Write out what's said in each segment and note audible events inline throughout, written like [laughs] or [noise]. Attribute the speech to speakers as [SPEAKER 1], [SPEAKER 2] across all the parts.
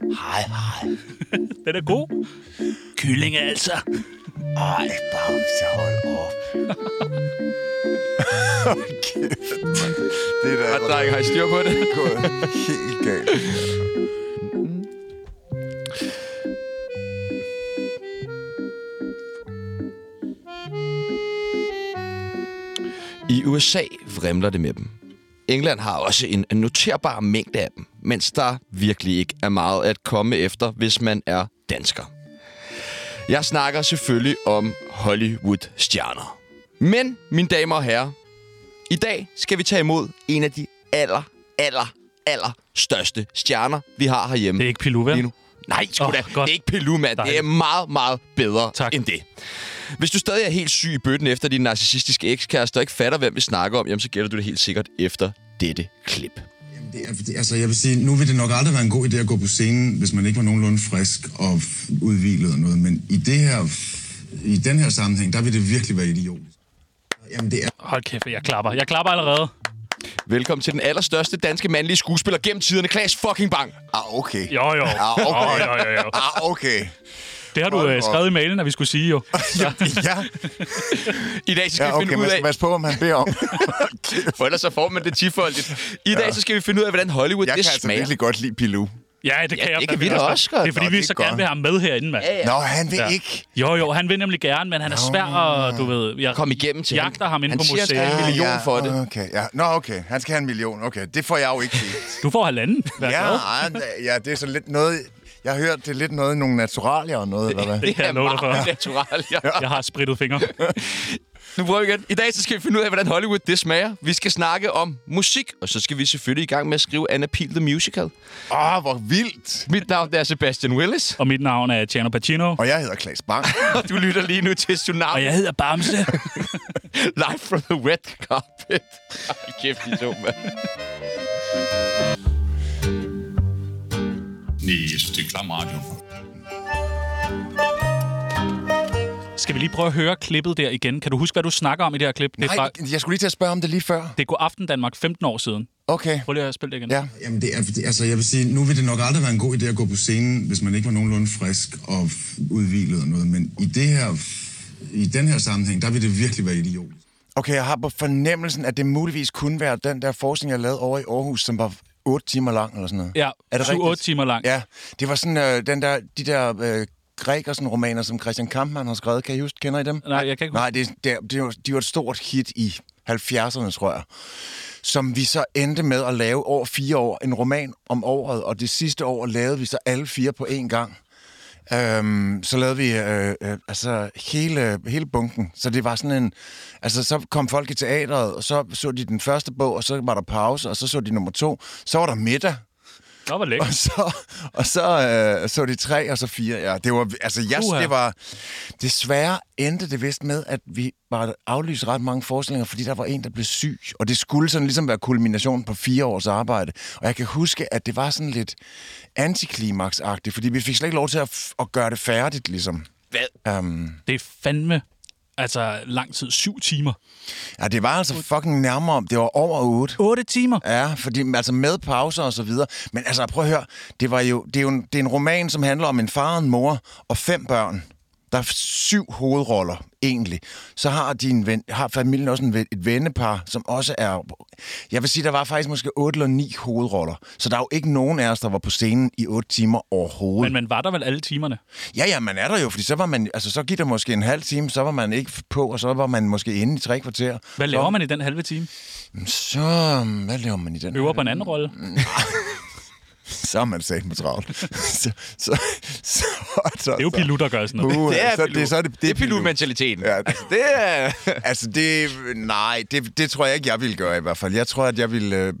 [SPEAKER 1] Hej, hej.
[SPEAKER 2] Den er god. Kylling altså.
[SPEAKER 1] Ej, Bamse, hold op. Hold kæft, mand. Det er da
[SPEAKER 3] Og dreng, har I styr på det?
[SPEAKER 1] gået helt galt.
[SPEAKER 3] I USA vrimler det med dem. England har også en noterbar mængde af dem, mens der virkelig ikke er meget at komme efter, hvis man er dansker. Jeg snakker selvfølgelig om Hollywood-stjerner. Men, mine damer og herrer, i dag skal vi tage imod en af de aller, aller, aller største stjerner, vi har herhjemme.
[SPEAKER 2] Det er ikke Pilou, vel?
[SPEAKER 3] lige nu. Nej, sgu
[SPEAKER 2] Åh,
[SPEAKER 3] da.
[SPEAKER 2] godt.
[SPEAKER 3] Det er ikke Pelu, mand. Det er
[SPEAKER 2] Dejligt.
[SPEAKER 3] meget, meget bedre
[SPEAKER 2] Tak.
[SPEAKER 3] end det. Hvis du stadig er helt syg i bøtten efter din narcissistiske ekskæreste og ikke fatter, hvem vi snakker om, jamen så gætter du det helt sikkert efter dette klip.
[SPEAKER 4] Det er, det, altså, jeg vil sige, nu vil det nok aldrig være en god idé at gå på scenen, hvis man ikke var nogenlunde frisk og f- udvilet og noget, men i det her, i den her sammenhæng, der vil det virkelig være idiotisk. Jamen, det er
[SPEAKER 2] Hold kæft, jeg klapper. Jeg klapper allerede.
[SPEAKER 3] Velkommen til den allerstørste danske mandlige skuespiller gennem tiderne, Klaas fucking Bang.
[SPEAKER 1] Ah, okay.
[SPEAKER 2] Jo, jo.
[SPEAKER 1] Ah, okay.
[SPEAKER 2] Jo, jo, jo, jo.
[SPEAKER 3] [laughs]
[SPEAKER 1] Ah, okay.
[SPEAKER 2] Det har du
[SPEAKER 1] Hold
[SPEAKER 2] øh,
[SPEAKER 1] op.
[SPEAKER 2] skrevet i mailen, at vi skulle sige jo.
[SPEAKER 1] Ja, ja,
[SPEAKER 3] I dag så skal
[SPEAKER 1] ja
[SPEAKER 3] ja, vi
[SPEAKER 1] okay.
[SPEAKER 3] finde ud
[SPEAKER 1] Man
[SPEAKER 3] af...
[SPEAKER 1] skal passe på, om han beder om.
[SPEAKER 3] For ellers så får man det tifoldigt. I dag så skal vi finde ud af, hvordan Hollywood [laughs]
[SPEAKER 1] Jeg
[SPEAKER 3] det
[SPEAKER 1] kan altså
[SPEAKER 3] smager.
[SPEAKER 1] virkelig godt lide Pilou.
[SPEAKER 2] Ja, det kan
[SPEAKER 3] Ja,
[SPEAKER 2] jeg
[SPEAKER 3] det kan
[SPEAKER 2] fandme
[SPEAKER 3] vi da også godt.
[SPEAKER 2] Det er fordi,
[SPEAKER 1] Nå,
[SPEAKER 2] vi
[SPEAKER 1] det er
[SPEAKER 2] så
[SPEAKER 1] godt.
[SPEAKER 2] gerne vil have ham med herinde, mand.
[SPEAKER 3] Ja.
[SPEAKER 1] Nå, han vil
[SPEAKER 2] Ja.
[SPEAKER 1] ikke.
[SPEAKER 2] Jo, jo, han vil nemlig gerne, men han er svær, og du ved... Jeg
[SPEAKER 3] Kom igennem til
[SPEAKER 2] jagter ham, inde
[SPEAKER 3] Han
[SPEAKER 2] på
[SPEAKER 3] siger, at
[SPEAKER 2] museet.
[SPEAKER 3] han skal have en million
[SPEAKER 1] Ah, ja,
[SPEAKER 2] [laughs]
[SPEAKER 3] for det.
[SPEAKER 1] Okay, ja. Nå, okay. Han skal have en million. Okay, det får jeg
[SPEAKER 3] [laughs]
[SPEAKER 1] jo ikke til.
[SPEAKER 2] Du får halvanden. Vær
[SPEAKER 1] Ja,
[SPEAKER 2] glad.
[SPEAKER 1] ej, da- ja, det er så lidt noget... Jeg har hørt, det er lidt noget i nogle naturalier og
[SPEAKER 3] [laughs]
[SPEAKER 1] noget, eller hvad?
[SPEAKER 2] Det kan jeg love dig for.
[SPEAKER 3] meget naturligt. Ja.
[SPEAKER 2] Jeg har sprittet fingre.
[SPEAKER 3] Nu prøver vi igen. I dag så skal vi finde ud af, hvordan Hollywood det smager. Vi skal snakke om musik, og så skal vi selvfølgelig i gang med at skrive Anna Peel The Musical.
[SPEAKER 1] Åh, oh, hvor vildt!
[SPEAKER 3] Mit navn det er Sebastian Willis,
[SPEAKER 2] Og mit navn er Tjerno Pacino.
[SPEAKER 1] Og jeg hedder Klaas
[SPEAKER 2] [laughs]
[SPEAKER 1] Bang.
[SPEAKER 3] og du lytter lige nu til Tsunami
[SPEAKER 2] Og jeg hedder Bamse.
[SPEAKER 3] Live from the Red Carpet. Ej, kæft, de to, mand.
[SPEAKER 5] Nej, jeg synes, det er klam radio.
[SPEAKER 2] Skal vi lige prøve at høre klippet der igen? Kan du huske, hvad du snakker om i det her klip? Det er, fra,
[SPEAKER 1] Nej, jeg skulle lige til at spørge om det lige før.
[SPEAKER 2] det er God Aften Danmark 15 år siden.
[SPEAKER 1] Okay.
[SPEAKER 2] Prøv lige at spille det igen.
[SPEAKER 1] Ja.
[SPEAKER 4] Jamen, det er, det- altså, jeg vil sige, nu vil det nok aldrig være en god idé at gå på scenen, hvis man ikke var nogenlunde frisk og f- udvilet og noget, men i det her, i den her sammenhæng, der vil det virkelig være idiotisk.
[SPEAKER 1] Okay, jeg har på fornemmelsen, at det muligvis kunne være den der forskning, jeg lavede over i Aarhus, som var 8 timer lang eller sådan noget.
[SPEAKER 2] Ja,
[SPEAKER 1] er det
[SPEAKER 2] 7-8
[SPEAKER 1] rigtigt?
[SPEAKER 2] timer lang.
[SPEAKER 1] Ja, det var sådan øh, den der, de der øh, Gregersen-romaner, som Christian Kampmann har skrevet. Kan I huske, kender I dem?
[SPEAKER 2] Nej, jeg kan ikke
[SPEAKER 1] Nej, det, det, det, var, de var et stort hit i 70'erne, tror jeg. Som vi så endte med at lave over fire år. En roman om året, og det sidste år lavede vi så alle fire på én gang. Øhm, så lavede vi øh, øh, altså hele, hele bunken. Så det var sådan en... Altså, så kom folk i teatret, og så så de den første bog, og så var der pause, og så så de nummer to. Så var der middag,
[SPEAKER 2] huske. Nå, hvor
[SPEAKER 1] og
[SPEAKER 2] lækkert.
[SPEAKER 1] så, og så, øh, så de tre, og så fire. Ja, det var, altså, jeg,
[SPEAKER 2] Uha.
[SPEAKER 1] det var, desværre endte det vist med, at vi var aflyst ret mange forestillinger, fordi der var en, der blev syg. Og det skulle sådan ligesom være kulminationen på fire års arbejde. Og jeg kan huske, at det var sådan lidt antiklimaksagtigt, fordi vi fik slet ikke lov til at, f- at gøre det færdigt, ligesom.
[SPEAKER 3] Hvad?
[SPEAKER 2] Det er fandme altså lang tid. 7 timer.
[SPEAKER 1] Ja, det var altså fucking nærmere, det var over otte.
[SPEAKER 2] 8 timer?
[SPEAKER 1] Ja, fordi, altså med pauser og så videre. Men altså, prøv at høre, det, var jo, det er jo en, det er en roman, som handler om en far, en mor og fem børn. Der er syv hovedroller, egentlig. Så har, de en ven, har familien også en, ven- et vennepar, som også er... Jeg vil sige, der var faktisk måske otte eller ni hovedroller. Så der er jo ikke nogen af os, der var på scenen i otte timer overhovedet.
[SPEAKER 2] Men man var der vel alle timerne?
[SPEAKER 1] Ja, ja, man er der jo, fordi så var man... Altså, så gik der måske en halv time, så var man ikke på, og så var man måske inde i tre kvarter.
[SPEAKER 2] Hvad laver man i den halve time?
[SPEAKER 1] Så... Hvad laver man i den
[SPEAKER 2] Øver på en anden rolle?
[SPEAKER 1] så er man sat med travlt. [laughs] så, så, så, så,
[SPEAKER 2] Det er jo Pilu, der gør sådan noget.
[SPEAKER 1] Uh,
[SPEAKER 3] Det er
[SPEAKER 1] så,
[SPEAKER 3] Pilou.
[SPEAKER 1] det, så er det,
[SPEAKER 3] Det er Pilou-mentaliteten.
[SPEAKER 1] Ja.
[SPEAKER 3] Altså, det er... [laughs]
[SPEAKER 1] Altså, det... Nej, det, det tror jeg ikke, jeg ville gøre i hvert fald. Jeg tror, at jeg ville øh,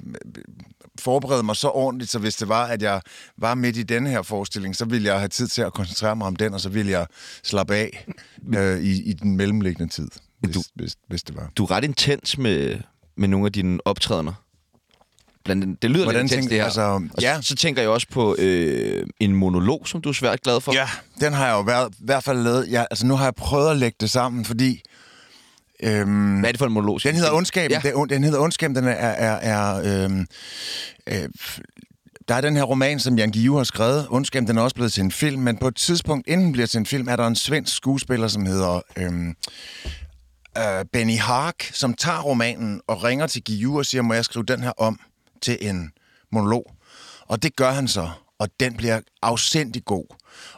[SPEAKER 1] forberede mig så ordentligt, så hvis det var, at jeg var midt i denne her forestilling, så ville jeg have tid til at koncentrere mig om den, og så ville jeg slappe af øh, i, i den mellemliggende tid, hvis, du... hvis, hvis det var.
[SPEAKER 3] Du er ret intens med, med nogle af dine optrædener. Blandt andet, det lyder
[SPEAKER 1] Hvordan
[SPEAKER 3] lidt intens,
[SPEAKER 1] tænker-
[SPEAKER 3] det her.
[SPEAKER 1] altså,
[SPEAKER 3] Og
[SPEAKER 1] ja.
[SPEAKER 3] så, så tænker jeg også på øh, en monolog, som du er svært glad for.
[SPEAKER 1] Ja, den har jeg jo været, i hvert fald lavet. Jeg, altså, nu har jeg prøvet at lægge det sammen, fordi... Øhm,
[SPEAKER 3] Hvad er det for en monolog?
[SPEAKER 1] Den hedder Ondskaben.
[SPEAKER 3] Ja.
[SPEAKER 1] Ja. Den, den hedder Ondskaben. Den er, er, er øhm, øh, f- Der er den her roman, som Jan Guillou har skrevet. Undskab, den er også blevet til en film, men på et tidspunkt, inden den bliver til en film, er der en svensk skuespiller, som hedder øhm, øh, Benny Hark, som tager romanen og ringer til Guillou og siger, må jeg skrive den her om til en monolog? Og det gør han så, og den bliver afsindig god.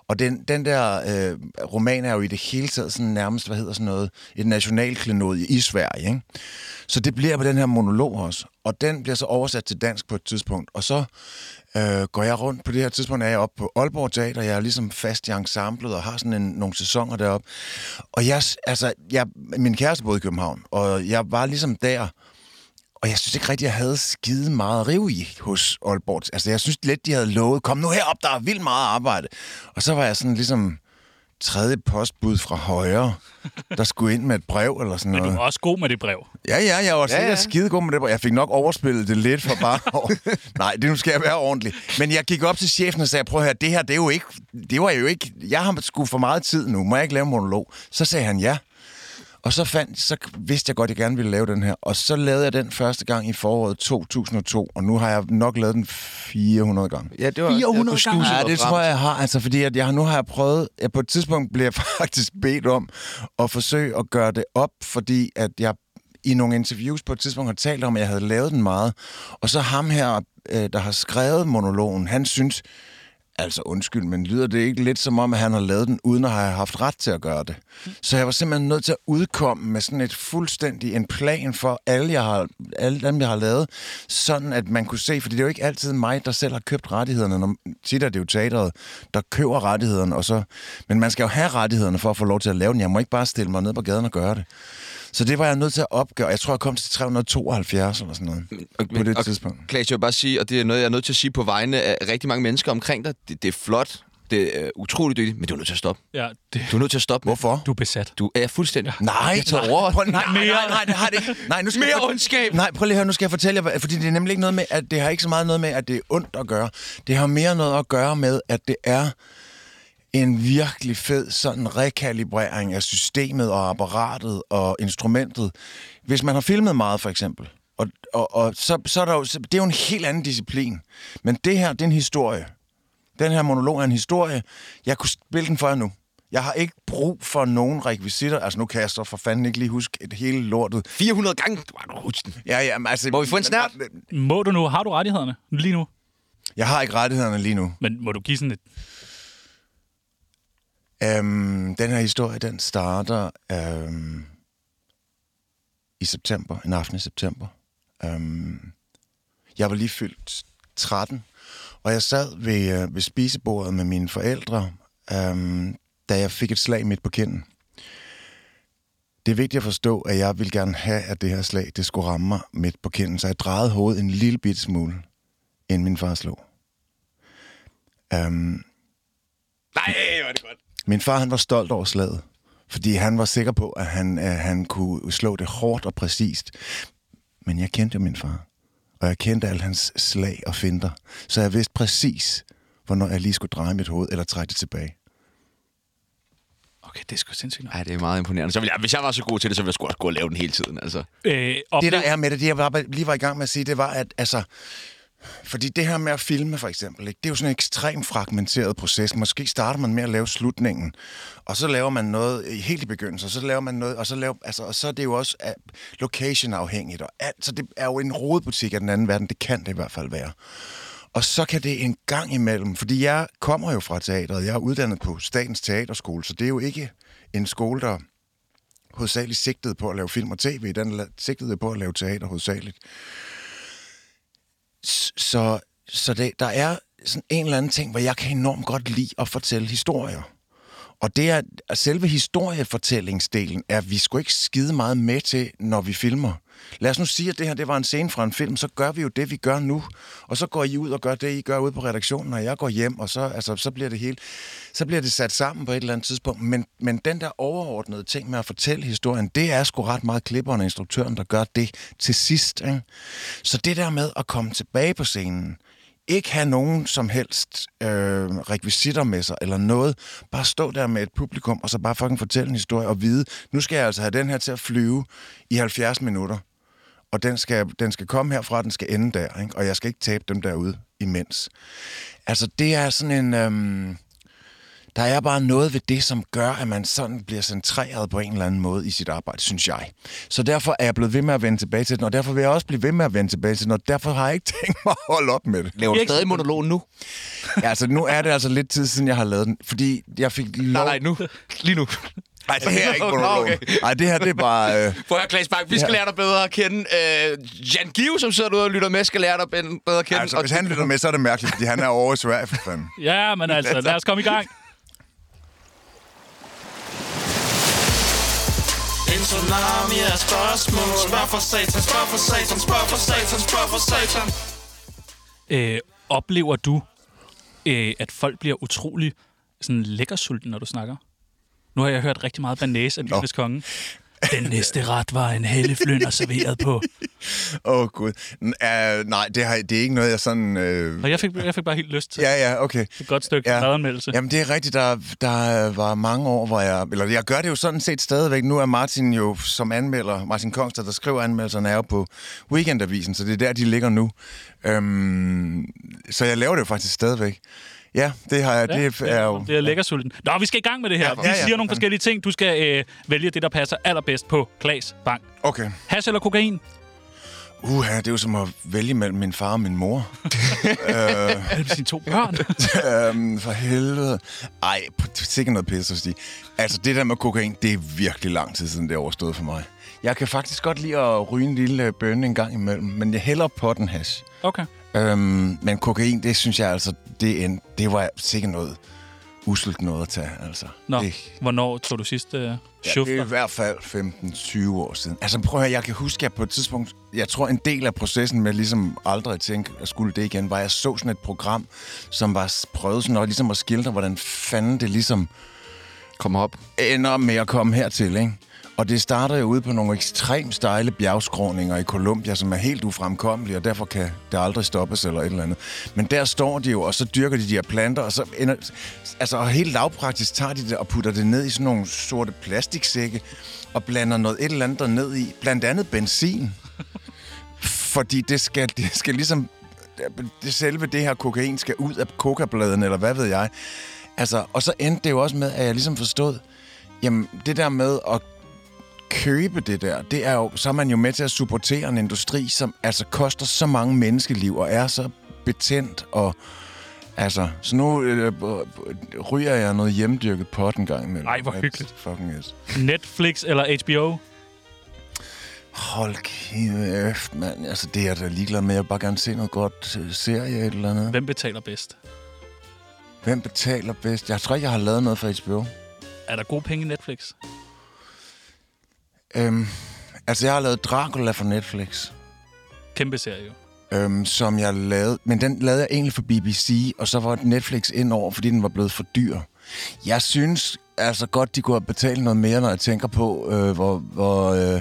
[SPEAKER 1] Og den, den der øh, roman er jo i det hele taget sådan nærmest, hvad hedder sådan noget, et nationalklenod i, i Sverige. Ikke? Så det bliver på den her monolog også. Og den bliver så oversat til dansk på et tidspunkt. Og så øh, går jeg rundt på det her tidspunkt, er jeg oppe på Aalborg Teater, jeg er ligesom fast i ensemblet og har sådan en, nogle sæsoner deroppe. Og jeg, altså, jeg, min kæreste boede i København, og jeg var ligesom der, og jeg synes ikke rigtigt, jeg havde skide meget at rive i hos Aalborg. Altså, jeg synes lidt, de havde lovet, kom nu herop, der er vildt meget arbejde. Og så var jeg sådan ligesom tredje postbud fra højre, der skulle ind med et brev eller sådan
[SPEAKER 2] Men du
[SPEAKER 1] noget.
[SPEAKER 2] var også god med det brev.
[SPEAKER 1] Ja, ja, jeg var sikkert
[SPEAKER 3] ja.
[SPEAKER 1] ja. skidegod med det. Jeg fik nok overspillet det lidt for bare... [laughs] Nej, det nu skal jeg være ordentlig. Men jeg gik op til chefen og sagde, prøv at høre, det her, det er jo ikke... Det var jo ikke... Jeg har sgu for meget tid nu. Må jeg ikke lave en monolog? Så sagde han ja. Og så, fandt, så vidste jeg godt, at jeg gerne ville lave den her. Og så lavede jeg den første gang i foråret 2002, og nu har jeg nok lavet den 400 gange.
[SPEAKER 3] Ja, det var...
[SPEAKER 2] 400
[SPEAKER 3] du snusede
[SPEAKER 2] gange.
[SPEAKER 1] Ja,
[SPEAKER 3] dig
[SPEAKER 1] det
[SPEAKER 3] frem.
[SPEAKER 1] tror jeg, jeg har. Altså, fordi at jeg, har- nu har jeg prøvet... Jeg på et tidspunkt blev jeg [laughs] faktisk bedt om at forsøge at gøre det op, fordi at jeg i nogle interviews på et tidspunkt har talt om, at jeg havde lavet den meget. Og så ham her, øh, der har skrevet monologen, han synes... Altså, undskyld, men lyder det ikke lidt som om, at han har lavet den, uden at have haft ret til at gøre det? Så jeg var simpelthen nødt til at udkomme med sådan et fuldstændig en plan for alle, jeg har, alle dem, jeg har lavet, sådan at man kunne se, for det er jo ikke altid mig, der selv har købt rettighederne. Når, tit er det jo teateret, der køber rettighederne, og så, men man skal jo have rettighederne for at få lov til at lave den. Jeg må ikke bare stille mig ned på gaden og gøre det. Så det var jeg nødt til at opgøre. Jeg tror, jeg kom til 372 eller sådan noget på det
[SPEAKER 3] og,
[SPEAKER 1] tidspunkt.
[SPEAKER 3] Klaas, jeg vil bare sige, og det er noget, jeg er nødt til at sige på vegne af rigtig mange mennesker omkring dig. Det, det er flot, det er utroligt dygtigt, men du er nødt til at stoppe.
[SPEAKER 2] Ja, det,
[SPEAKER 3] Du er nødt til at stoppe. med.
[SPEAKER 1] Hvorfor?
[SPEAKER 2] du er besat.
[SPEAKER 3] Du er fuldstændig...
[SPEAKER 1] Nej,
[SPEAKER 3] jeg tager over.
[SPEAKER 1] Prøv, nej, nej, nej, nej, det har det ikke. Nej, nu skal jeg
[SPEAKER 3] Mere
[SPEAKER 1] for-
[SPEAKER 3] ondskab!
[SPEAKER 1] Nej, prøv lige at høre, nu skal jeg fortælle jer, hvad- fordi det er nemlig ikke noget med, at det har ikke så meget noget med, at det er ondt at gøre. Det har mere noget at gøre med, at det er en virkelig fed sådan rekalibrering af systemet og apparatet og instrumentet. Hvis man har filmet meget, for eksempel, og, og, og så, så er der jo, så- det er jo en helt anden disciplin. Men det her, det er en historie. Den her monolog er en historie. Jeg kunne spille den for jer nu. Jeg har ikke brug for nogen rekvisitter. Altså, nu kan jeg så for fanden ikke lige huske et hele lortet.
[SPEAKER 3] 400 gange! Du har nu huske den.
[SPEAKER 1] Ja, ja, men altså...
[SPEAKER 3] Må vi få en snert?
[SPEAKER 2] Må du nu? Har du rettighederne lige nu?
[SPEAKER 1] Jeg har ikke rettighederne lige nu.
[SPEAKER 2] Men må du give sådan et...
[SPEAKER 1] Øhm, den her historie, den starter øhm, i september, en aften i september. Øhm, jeg var lige fyldt 13, og jeg sad ved, øh, ved spisebordet med mine forældre, øhm, da jeg fik et slag midt på kinden. Det er vigtigt at forstå, at jeg ville gerne have, at det her slag det skulle ramme mig midt på kinden, så jeg drejede hovedet en lille bitte smule, inden min far slog. Øhm, Min far han var stolt over slaget, fordi han var sikker på, at han, øh, han kunne slå det hårdt og præcist. Men jeg kendte jo min far, og jeg kendte alle hans slag og finder, så jeg vidste præcis, hvornår jeg lige skulle dreje mit hoved eller trække det tilbage.
[SPEAKER 2] Okay, det er sgu sindssygt nok.
[SPEAKER 3] Ej, det er meget imponerende. Så vil jeg, hvis jeg var så god til det, så ville jeg sgu også gå og lave den hele tiden, altså.
[SPEAKER 2] Øh,
[SPEAKER 1] Det,
[SPEAKER 2] oplev-
[SPEAKER 1] der er med det, det jeg var, lige var i gang med at sige, det var, at altså... Fordi det her med at filme, for eksempel, ikke, det er jo sådan en ekstremt fragmenteret proces. Måske starter man med at lave slutningen, og så laver man noget i- helt i begyndelsen, og så laver man noget, og så, laver, altså, og så er det jo også øh, location-afhængigt. Og alt, så det er jo en rodebutik af den anden verden. Det kan det i hvert fald være. Og så kan det en gang imellem, fordi jeg kommer jo fra teateret. Jeg er uddannet på Statens Teaterskole, så det er jo ikke en skole, der hovedsageligt sigtede på at lave film og tv, den la- sigtede på at lave teater hovedsageligt. S- Så, så det, der er sådan en eller anden ting, hvor jeg kan enormt godt lide at fortælle historier. Og det er, at selve historiefortællingsdelen er vi sgu ikke skide meget med til, når vi filmer. Lad os nu sige, at det her det var en scene fra en film, så gør vi jo det, vi gør nu. Og så går I ud og gør det, I gør ude på redaktionen, og jeg går hjem, og så, altså, så bliver det hele, så bliver det sat sammen på et eller andet tidspunkt. Men, men den der overordnede ting med at fortælle historien, det er sgu ret meget klipperen og instruktøren, der gør det til sidst. Ikke? Så det der med at komme tilbage på scenen, ikke have nogen som helst øh, rekvisitter med sig eller noget. Bare stå der med et publikum, og så bare fucking fortælle en historie og vide, nu skal jeg altså have den her til at flyve i 70 minutter. Og den skal, den skal komme herfra, den skal ende der, ikke? og jeg skal ikke tabe dem derude imens. Altså, det er sådan en... Øhm, der er bare noget ved det, som gør, at man sådan bliver centreret på en eller anden måde i sit arbejde, synes jeg. Så derfor er jeg blevet ved med at vende tilbage til den, og derfor vil jeg også blive ved med at vende tilbage til den, og derfor har jeg ikke [laughs] tænkt mig at holde op med det.
[SPEAKER 3] Laver du stadig monolog nu?
[SPEAKER 1] Ja, altså, nu er det altså lidt tid siden, jeg har lavet den, fordi jeg fik lov...
[SPEAKER 3] Nej, nej, nu. Lige nu.
[SPEAKER 1] Ej, det her er ikke
[SPEAKER 3] Nå,
[SPEAKER 1] monolog.
[SPEAKER 3] [laughs] okay.
[SPEAKER 1] Nej, det her, det er bare... Øh,
[SPEAKER 3] Prøv at høre, Klaas Bang, vi skal
[SPEAKER 1] Ja.
[SPEAKER 3] lære dig bedre at kende. Øh, Jan Give, som sidder derude og lytter med, skal lære dig ben- bedre at kende.
[SPEAKER 1] altså, hvis han lytter med, så er det mærkeligt, fordi han er over i Sverige, for fanden.
[SPEAKER 2] Ja, men altså, lad os komme i gang.
[SPEAKER 5] En tsunami af spørgsmål Spørg for satan, spørg for satan, spørg for satan, spørg for satan
[SPEAKER 2] Øh, oplever du, øh, at folk bliver utrolig sådan lækkersulten, når du snakker? Nu har jeg hørt rigtig meget banæs af Bibels konge. Den næste ret var en helleflynder serveret på.
[SPEAKER 1] Åh, oh, gud. N- øh, nej, det, har, det er ikke noget, jeg sådan... Øh,
[SPEAKER 2] Og jeg fik, jeg fik bare helt lyst til ja.
[SPEAKER 1] ja, ja, okay.
[SPEAKER 2] et godt stykke ja. madanmeldelse.
[SPEAKER 1] Jamen, det er rigtigt. Der, der var mange år, hvor jeg... Eller jeg gør det jo sådan set stadigvæk. Nu er Martin jo som anmelder, Martin Kongstad, der skriver anmeldelserne, er jo på Weekendavisen, så det er der, de ligger nu. Øhm, så jeg laver det jo faktisk stadigvæk. Ja, det har jeg... Ja, det er jo...
[SPEAKER 2] Det er lækkersulten. Nå, vi skal i gang med det her. Vi
[SPEAKER 1] ja, ja,
[SPEAKER 2] siger nogle
[SPEAKER 1] for
[SPEAKER 2] forskellige ting. Du skal øh, vælge det, der passer allerbedst på Klaas Bank.
[SPEAKER 1] Okay.
[SPEAKER 2] Has eller kokain?
[SPEAKER 1] Uha, det er jo som at vælge mellem min far og min mor.
[SPEAKER 2] Mellem sine to børn.
[SPEAKER 1] øhm, for helvede. Ej, p- sikkert noget pisse hos de. Altså, det der med kokain, det er virkelig lang tid siden, det er overstået for mig. Jeg kan faktisk godt lide at ryge en lille bønne en gang imellem, men jeg hælder på den hash.
[SPEAKER 2] Okay.
[SPEAKER 1] Øhm, men kokain, det synes jeg altså, det, er en, det var sikkert noget uselt noget at tage, altså.
[SPEAKER 2] Nå,
[SPEAKER 1] Det,
[SPEAKER 2] hvornår tog du sidst øh,
[SPEAKER 1] Ja, det er i
[SPEAKER 2] sjufter?
[SPEAKER 1] hvert fald 15-20 år siden. Altså prøv at høre, jeg kan huske, at jeg på et tidspunkt, jeg tror en del af processen med ligesom aldrig at tænke, at skulle det igen, var, at jeg så sådan et program, som var s- prøvet sådan noget, ligesom at skildre, hvordan fanden det ligesom
[SPEAKER 3] Kom op.
[SPEAKER 1] ender med at komme hertil, ikke? Og det starter jo ude på nogle ekstremt stejle bjergskråninger i Colombia, som er helt ufremkommelige, og derfor kan det aldrig stoppes eller et eller andet. Men der står de jo, og så dyrker de de her planter, og så ender, altså, og helt lavpraktisk tager de det og putter det ned i sådan nogle sorte plastiksække, og blander noget et eller andet ned i, blandt andet benzin. Fordi det skal, [laughs] det skal ligesom, det selve det her kokain skal ud af kokabladen, eller hvad ved jeg. Altså, og så endte det jo også med, at jeg ligesom forstod, Jamen, det der med at købe det der, det er jo, så er man jo med til at supportere en industri, som altså koster så mange menneskeliv og er så betændt og altså, så nu øh, øh, ryger jeg noget hjemdyrket pot en gang imellem.
[SPEAKER 2] Ej, hvor
[SPEAKER 1] That's
[SPEAKER 2] hyggeligt.
[SPEAKER 1] Fucking yes.
[SPEAKER 2] Netflix eller HBO?
[SPEAKER 1] Hold kæft, mand. Altså, det er jeg da ligeglad med. Jeg vil bare gerne se noget godt øh, serie et eller andet.
[SPEAKER 2] Hvem betaler bedst?
[SPEAKER 1] Hvem betaler bedst? Jeg tror ikke, jeg har lavet noget for HBO.
[SPEAKER 2] Er der gode penge i Netflix?
[SPEAKER 1] Øhm, altså, jeg har lavet Dracula for Netflix.
[SPEAKER 2] Kæmpe serie jo.
[SPEAKER 1] øhm, som jeg lavede. Men den lavede jeg egentlig for BBC, og så var Netflix ind over, fordi den var blevet for dyr. Jeg synes altså godt, de kunne have betalt noget mere, når jeg tænker på, øh, hvor... hvor øh,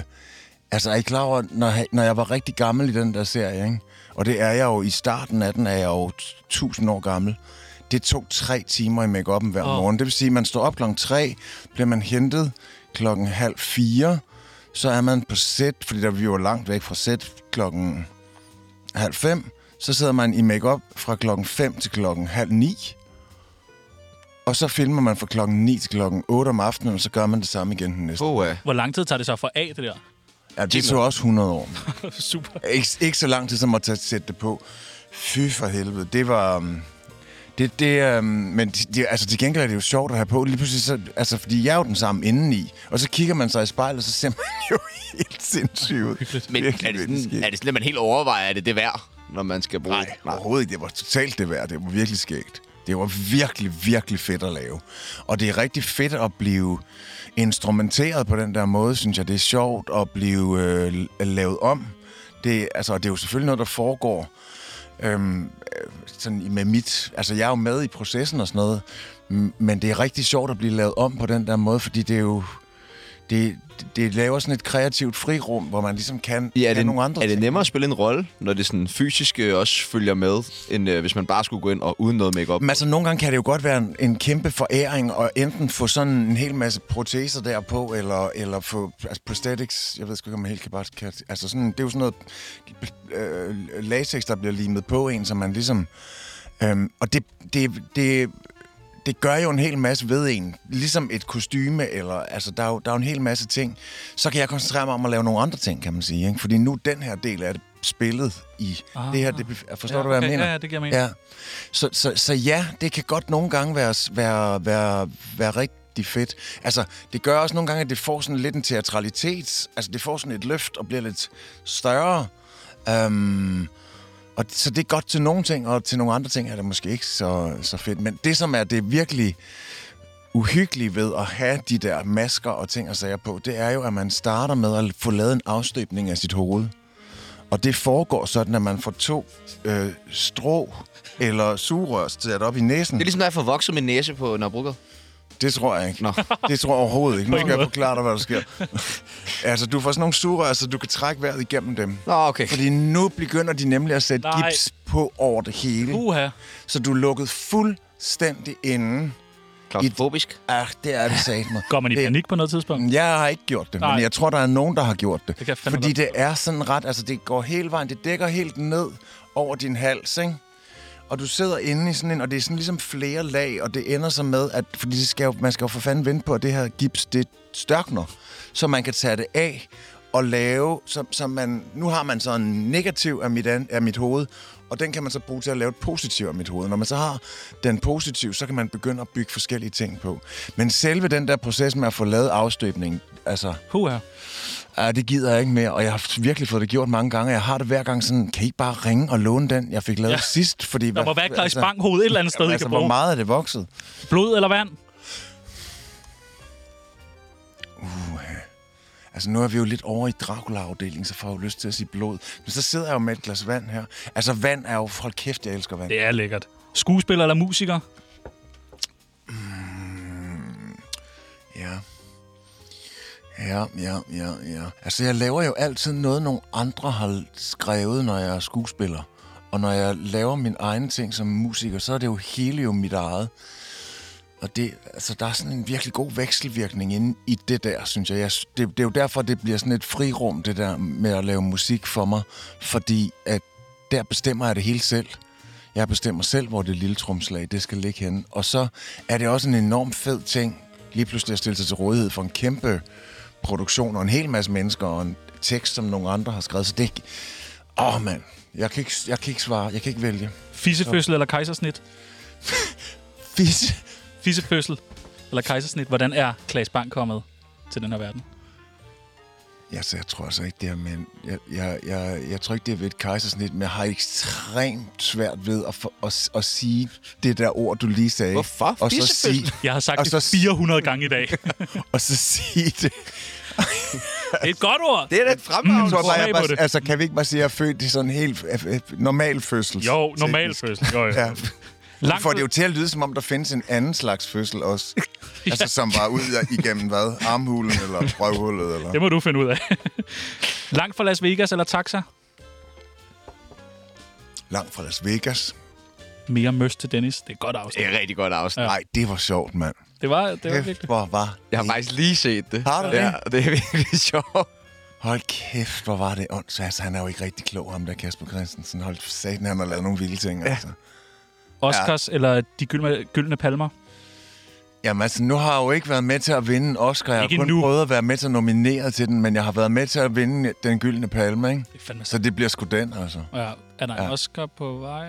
[SPEAKER 1] altså, er I klar over, når, jeg- når jeg var rigtig gammel i den der serie, ikke? og det er jeg jo i starten af den, er jeg jo t- 1000 år gammel. Det tog tre timer i make-up'en hver
[SPEAKER 2] Åh.
[SPEAKER 1] morgen. Det vil sige, at man står op klokken tre, bliver man hentet klokken halv fire, så er man på sæt, fordi der vi jo langt væk fra sæt klokken halv fem, så sidder man i makeup fra klokken 5 til klokken halv ni. Og så filmer man fra klokken 9 til klokken 8 om aftenen, og så gør man det samme igen den næste.
[SPEAKER 3] Boa.
[SPEAKER 2] Hvor lang tid tager det så for A, det der? [laughs]
[SPEAKER 1] Ja, det tog også 100 år.
[SPEAKER 2] Super.
[SPEAKER 1] Ikke, ikke så lang tid som at tage, sætte det på. Fy for helvede. Det var... øhm, Det, det, øhm, men det, det, altså, til gengæld er det jo sjovt at have på. Lige pludselig, så, altså, fordi jeg er jo den samme indeni. Og så kigger man sig i spejlet, og så ser man jo [laughs] helt sindssyg ud.
[SPEAKER 3] Men er det,
[SPEAKER 1] Virkelig, virkelig
[SPEAKER 3] sådan,
[SPEAKER 1] skægt.
[SPEAKER 3] er det sådan, at man helt overvejer, at det er det værd, når man skal bruge
[SPEAKER 1] Nej, overhovedet ikke. Det var totalt det værd. Det var virkelig skægt. Det var virkelig, virkelig fedt at lave. Og det er rigtig fedt at blive instrumenteret på den der måde, synes jeg. Det er sjovt at blive øh, lavet om. Det, altså, og det er jo selvfølgelig noget, der foregår øhm, øh, sådan i- med mit... Altså, jeg er jo med i processen og sådan noget, m- men det er rigtig sjovt at blive lavet om på den der måde, fordi det er jo... Det, det- det laver sådan et kreativt frirum, hvor man ligesom kan,
[SPEAKER 3] Ja, er,
[SPEAKER 1] kan
[SPEAKER 3] det,
[SPEAKER 1] nogle andre
[SPEAKER 3] er det
[SPEAKER 1] ting.
[SPEAKER 3] nemmere at spille en rolle, når det sådan fysiske også følger med, end øh, hvis man bare skulle gå ind og uden noget makeup?
[SPEAKER 1] Men altså, nogle gange kan det jo godt være en, en kæmpe foræring at enten få sådan en hel masse proteser derpå, eller, eller få altså, prosthetics. Jeg ved sgu ikke, om man helt kan bare... Kan, altså, sådan, det er jo sådan noget øh, latex, der bliver limet på en, som man ligesom... Øhm, og det, det, det, det gør jo en hel masse ved en. Ligesom et kostyme, eller... Altså, der er, jo, der er jo en hel masse ting. Så kan jeg koncentrere mig om at lave nogle andre ting, kan man sige. Ikke? Fordi nu er den her del af det spillet i ah, det her... Det, forstår
[SPEAKER 2] Ja,
[SPEAKER 1] ja, du, hvad
[SPEAKER 2] okay.
[SPEAKER 1] jeg mener?
[SPEAKER 2] Ja, ja, det giver mening.
[SPEAKER 1] Ja. Så, så, så ja, det kan godt nogle gange være, være, være, være rigtig fedt. Altså, det gør også nogle gange, at det får sådan lidt en teatralitet. Altså, det får sådan et løft og bliver lidt større. Um, og d- så det er godt til nogle ting, og til nogle andre ting er det måske ikke så, så fedt. Men det, som er det virkelig uhyggelige ved at have de der masker og ting og sager på, det er jo, at man starter med at få lavet en afstøbning af sit hoved. Og det foregår sådan, at man får to øh, strå eller sugerør sat op i næsen.
[SPEAKER 3] Det er ligesom, når jeg får vokset min næse på Nørrebrogade.
[SPEAKER 1] Det tror jeg ikke.
[SPEAKER 3] Nå.
[SPEAKER 1] [laughs] Det tror jeg overhovedet ikke. Nu skal jeg forklare dig, hvad der sker. [laughs] altså, du får sådan nogle sugerør, så du kan trække vejret igennem dem.
[SPEAKER 3] Nå, okay.
[SPEAKER 1] Fordi nu begynder de nemlig at sætte
[SPEAKER 2] Nej.
[SPEAKER 1] Nej. gips på over det hele.
[SPEAKER 3] Uh.
[SPEAKER 2] Uha.
[SPEAKER 1] Så du er lukket fuldstændig inden.
[SPEAKER 3] Klaustrofobisk.
[SPEAKER 1] Ah, det er det sagt mig.
[SPEAKER 2] Går man i panik på noget tidspunkt?
[SPEAKER 1] Jeg har ikke gjort det, Nej.
[SPEAKER 2] Nej.
[SPEAKER 1] men jeg tror, der er nogen, der har gjort det.
[SPEAKER 2] Det kan jeg fandme
[SPEAKER 1] Fordi
[SPEAKER 2] godt
[SPEAKER 1] det er sådan ret, altså det går hele vejen, det dækker helt ned over din hals, ikke? Og du sidder inde i sådan en, og det er sådan ligesom flere lag, og det ender så med, at fordi det skal jo, man skal jo for fanden vente på, at det her gips, det størkner, så man kan tage det af og lave, så, så man, nu har man så en negativ af mit, an, af mit hoved, og den kan man så bruge til at lave et positivt af mit hoved. Når man så har den positive, så kan man begynde at bygge forskellige ting på. Men selve den der proces med at få lavet afstøbning, altså,
[SPEAKER 2] Uha.
[SPEAKER 1] Ja, det gider jeg ikke mere, og jeg har virkelig fået det gjort mange gange. Jeg har det hver gang sådan, kan I ikke bare ringe og låne den, jeg fik lavet
[SPEAKER 2] Ja.
[SPEAKER 1] ja. sidst? Fordi,
[SPEAKER 2] Der må være et Claus Bang hoved et eller andet sted, I
[SPEAKER 1] altså,
[SPEAKER 2] kan
[SPEAKER 1] hvor
[SPEAKER 2] bruge.
[SPEAKER 1] meget er det vokset?
[SPEAKER 2] Blod eller vand?
[SPEAKER 1] Altså, nu er vi jo lidt over i Dracula-afdelingen, så får jeg jo lyst til at sige blod. Men så sidder jeg jo med et glas vand her. Altså, vand er jo... Hold kæft, jeg elsker vand.
[SPEAKER 2] Det er lækkert. Skuespiller eller musiker?
[SPEAKER 1] Ja. Ja, ja, ja, ja. Altså, jeg laver jo altid noget, nogle andre har skrevet, når jeg er skuespiller. Og når jeg laver min egen ting som musiker, så er det jo hele jo mit eget. Og det, altså, der er sådan en virkelig god vekselvirkning inde i det der, synes jeg. jeg sy- det, det er jo derfor, det bliver sådan et frirum, det der med at lave musik for mig. Fordi at der bestemmer jeg det hele selv. Jeg bestemmer selv, hvor det lille trumslag det skal ligge henne. Og så er det også en enorm fed ting, lige pludselig at stille sig til rådighed for en kæmpe produktion og en hel masse mennesker og en tekst, som nogle andre har skrevet. Så det er ikke- Åh, oh, mand. Jeg kan, ikke, jeg kan ikke svare. Jeg kan ikke vælge.
[SPEAKER 2] Fissefødsel eller kejsersnit?
[SPEAKER 1] Fisse.
[SPEAKER 2] Fissefødsel eller kejsersnit? Hvordan er Claus Bang kommet til den her verden?
[SPEAKER 1] Ja, så jeg tror altså ikke det her, men jeg, jeg, jeg, jeg tror ikke, det er ved et kejsersnit, men jeg har ekstremt svært ved at, for, at, at sige det der ord, du lige sagde.
[SPEAKER 3] Hvorfor?
[SPEAKER 1] Og så
[SPEAKER 3] Fissefødsel.
[SPEAKER 1] sige,
[SPEAKER 2] Jeg har sagt
[SPEAKER 1] Og
[SPEAKER 2] det
[SPEAKER 1] så-
[SPEAKER 2] 400 gange i dag.
[SPEAKER 1] [laughs] og så sige det.
[SPEAKER 2] Det er et godt ord.
[SPEAKER 3] Det er da et fremragende
[SPEAKER 2] Mm,
[SPEAKER 1] tror
[SPEAKER 2] Prøv
[SPEAKER 1] bare,
[SPEAKER 2] at
[SPEAKER 1] jeg
[SPEAKER 2] smage på det.
[SPEAKER 1] bare, altså, kan vi ikke bare sige, at jeg er født i sådan en helt øh, øh, normal fødsel?
[SPEAKER 2] Jo, normal fødsel. Jo, jo.
[SPEAKER 1] Ja.
[SPEAKER 2] Langt
[SPEAKER 1] Får det jo til at lyde, som om der findes en anden slags fødsel
[SPEAKER 2] [laughs]
[SPEAKER 1] også. Altså, som var ud af- igennem hvad? Armhulen eller røvhullet? Eller?
[SPEAKER 2] Det må du finde ud af. [laughs] Langt fra Las Vegas eller taxa?
[SPEAKER 1] Langt fra Las Vegas.
[SPEAKER 2] Mere møs til Dennis. Det er et godt
[SPEAKER 3] Mm. Det
[SPEAKER 2] afsnit.
[SPEAKER 3] er et rigtig godt afsnit.
[SPEAKER 1] Nej, det var sjovt, mand.
[SPEAKER 2] Det var, det var
[SPEAKER 1] Kæft,
[SPEAKER 2] virkelig.
[SPEAKER 1] hvor var
[SPEAKER 3] Jeg har faktisk lige set det.
[SPEAKER 1] Har du det?
[SPEAKER 3] Ja, og det er virkelig [laughs] sjovt.
[SPEAKER 1] Hold kæft, hvor var det ondt. Altså, han er jo ikke rigtig klog, ham der Kasper Christensen. Hold satan, han har lavet nogle vilde ting, ja. altså.
[SPEAKER 2] Oscars eller De gyldne, gyldne Palmer?
[SPEAKER 1] Jamen altså, nu har jeg jo ikke været med til at vinde en Oscar. Jeg har
[SPEAKER 2] Ikke
[SPEAKER 1] kun
[SPEAKER 2] endnu.
[SPEAKER 1] prøvet at være med til at nominere til den, men jeg har været med til at vinde den gyldne palme, ikke?
[SPEAKER 2] Det er fandme
[SPEAKER 1] Så det bliver sgu den, altså.
[SPEAKER 2] Ja, er der en Oscar på vej?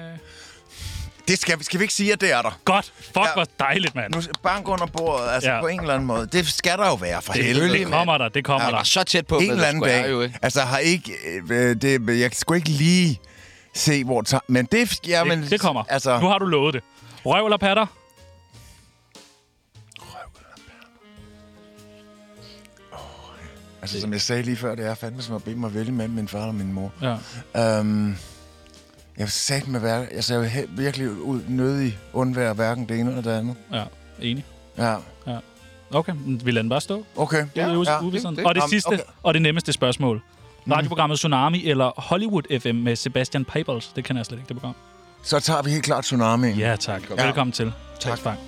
[SPEAKER 1] Det skal, vi- skal vi ikke sige, at det er der.
[SPEAKER 2] Godt. Fuck,
[SPEAKER 1] Ja.
[SPEAKER 2] hvor dejligt, mand.
[SPEAKER 1] Nu bank under bordet, altså
[SPEAKER 2] Ja.
[SPEAKER 1] ja. på en eller anden måde. Det skal der jo være, for helvede.
[SPEAKER 2] Det kommer der, det kommer
[SPEAKER 3] Jeg var
[SPEAKER 2] der.
[SPEAKER 3] så tæt på,
[SPEAKER 1] en
[SPEAKER 3] men
[SPEAKER 1] eller
[SPEAKER 3] det
[SPEAKER 1] anden
[SPEAKER 3] skulle
[SPEAKER 1] dag.
[SPEAKER 3] jeg Jo,
[SPEAKER 1] Jo,
[SPEAKER 3] ikke.
[SPEAKER 1] altså, har ikke... Øh, det, jeg skulle ikke lige se, hvor... Ta- men det... Ja, men,
[SPEAKER 2] Det, det kommer.
[SPEAKER 1] Altså,
[SPEAKER 2] Nu har du lovet det. Røv eller patter?
[SPEAKER 1] altså, som jeg sagde lige før, det er fandme som at bede mig at vælge mellem min far og min mor.
[SPEAKER 2] Ja.
[SPEAKER 1] Øhm, jeg vil satme være... Altså, jeg vil he- virkelig ud, nødig undvære hverken det ene eller det andet.
[SPEAKER 2] Ja, enig.
[SPEAKER 1] Ja.
[SPEAKER 2] Ja. Okay, men vi lader den bare stå.
[SPEAKER 1] Okay.
[SPEAKER 2] Ja, ja, det, det. Og det
[SPEAKER 1] Jamen,
[SPEAKER 2] sidste,
[SPEAKER 1] okay.
[SPEAKER 2] okay. og det nemmeste spørgsmål. Radioprogrammet Tsunami eller Hollywood FM med Sebastian Pibels. Det kender jeg slet ikke, det program.
[SPEAKER 1] Så tager vi helt klart tsunamien.
[SPEAKER 2] Ja, tak. Velkommen, Velkommen til. Tak. Frank.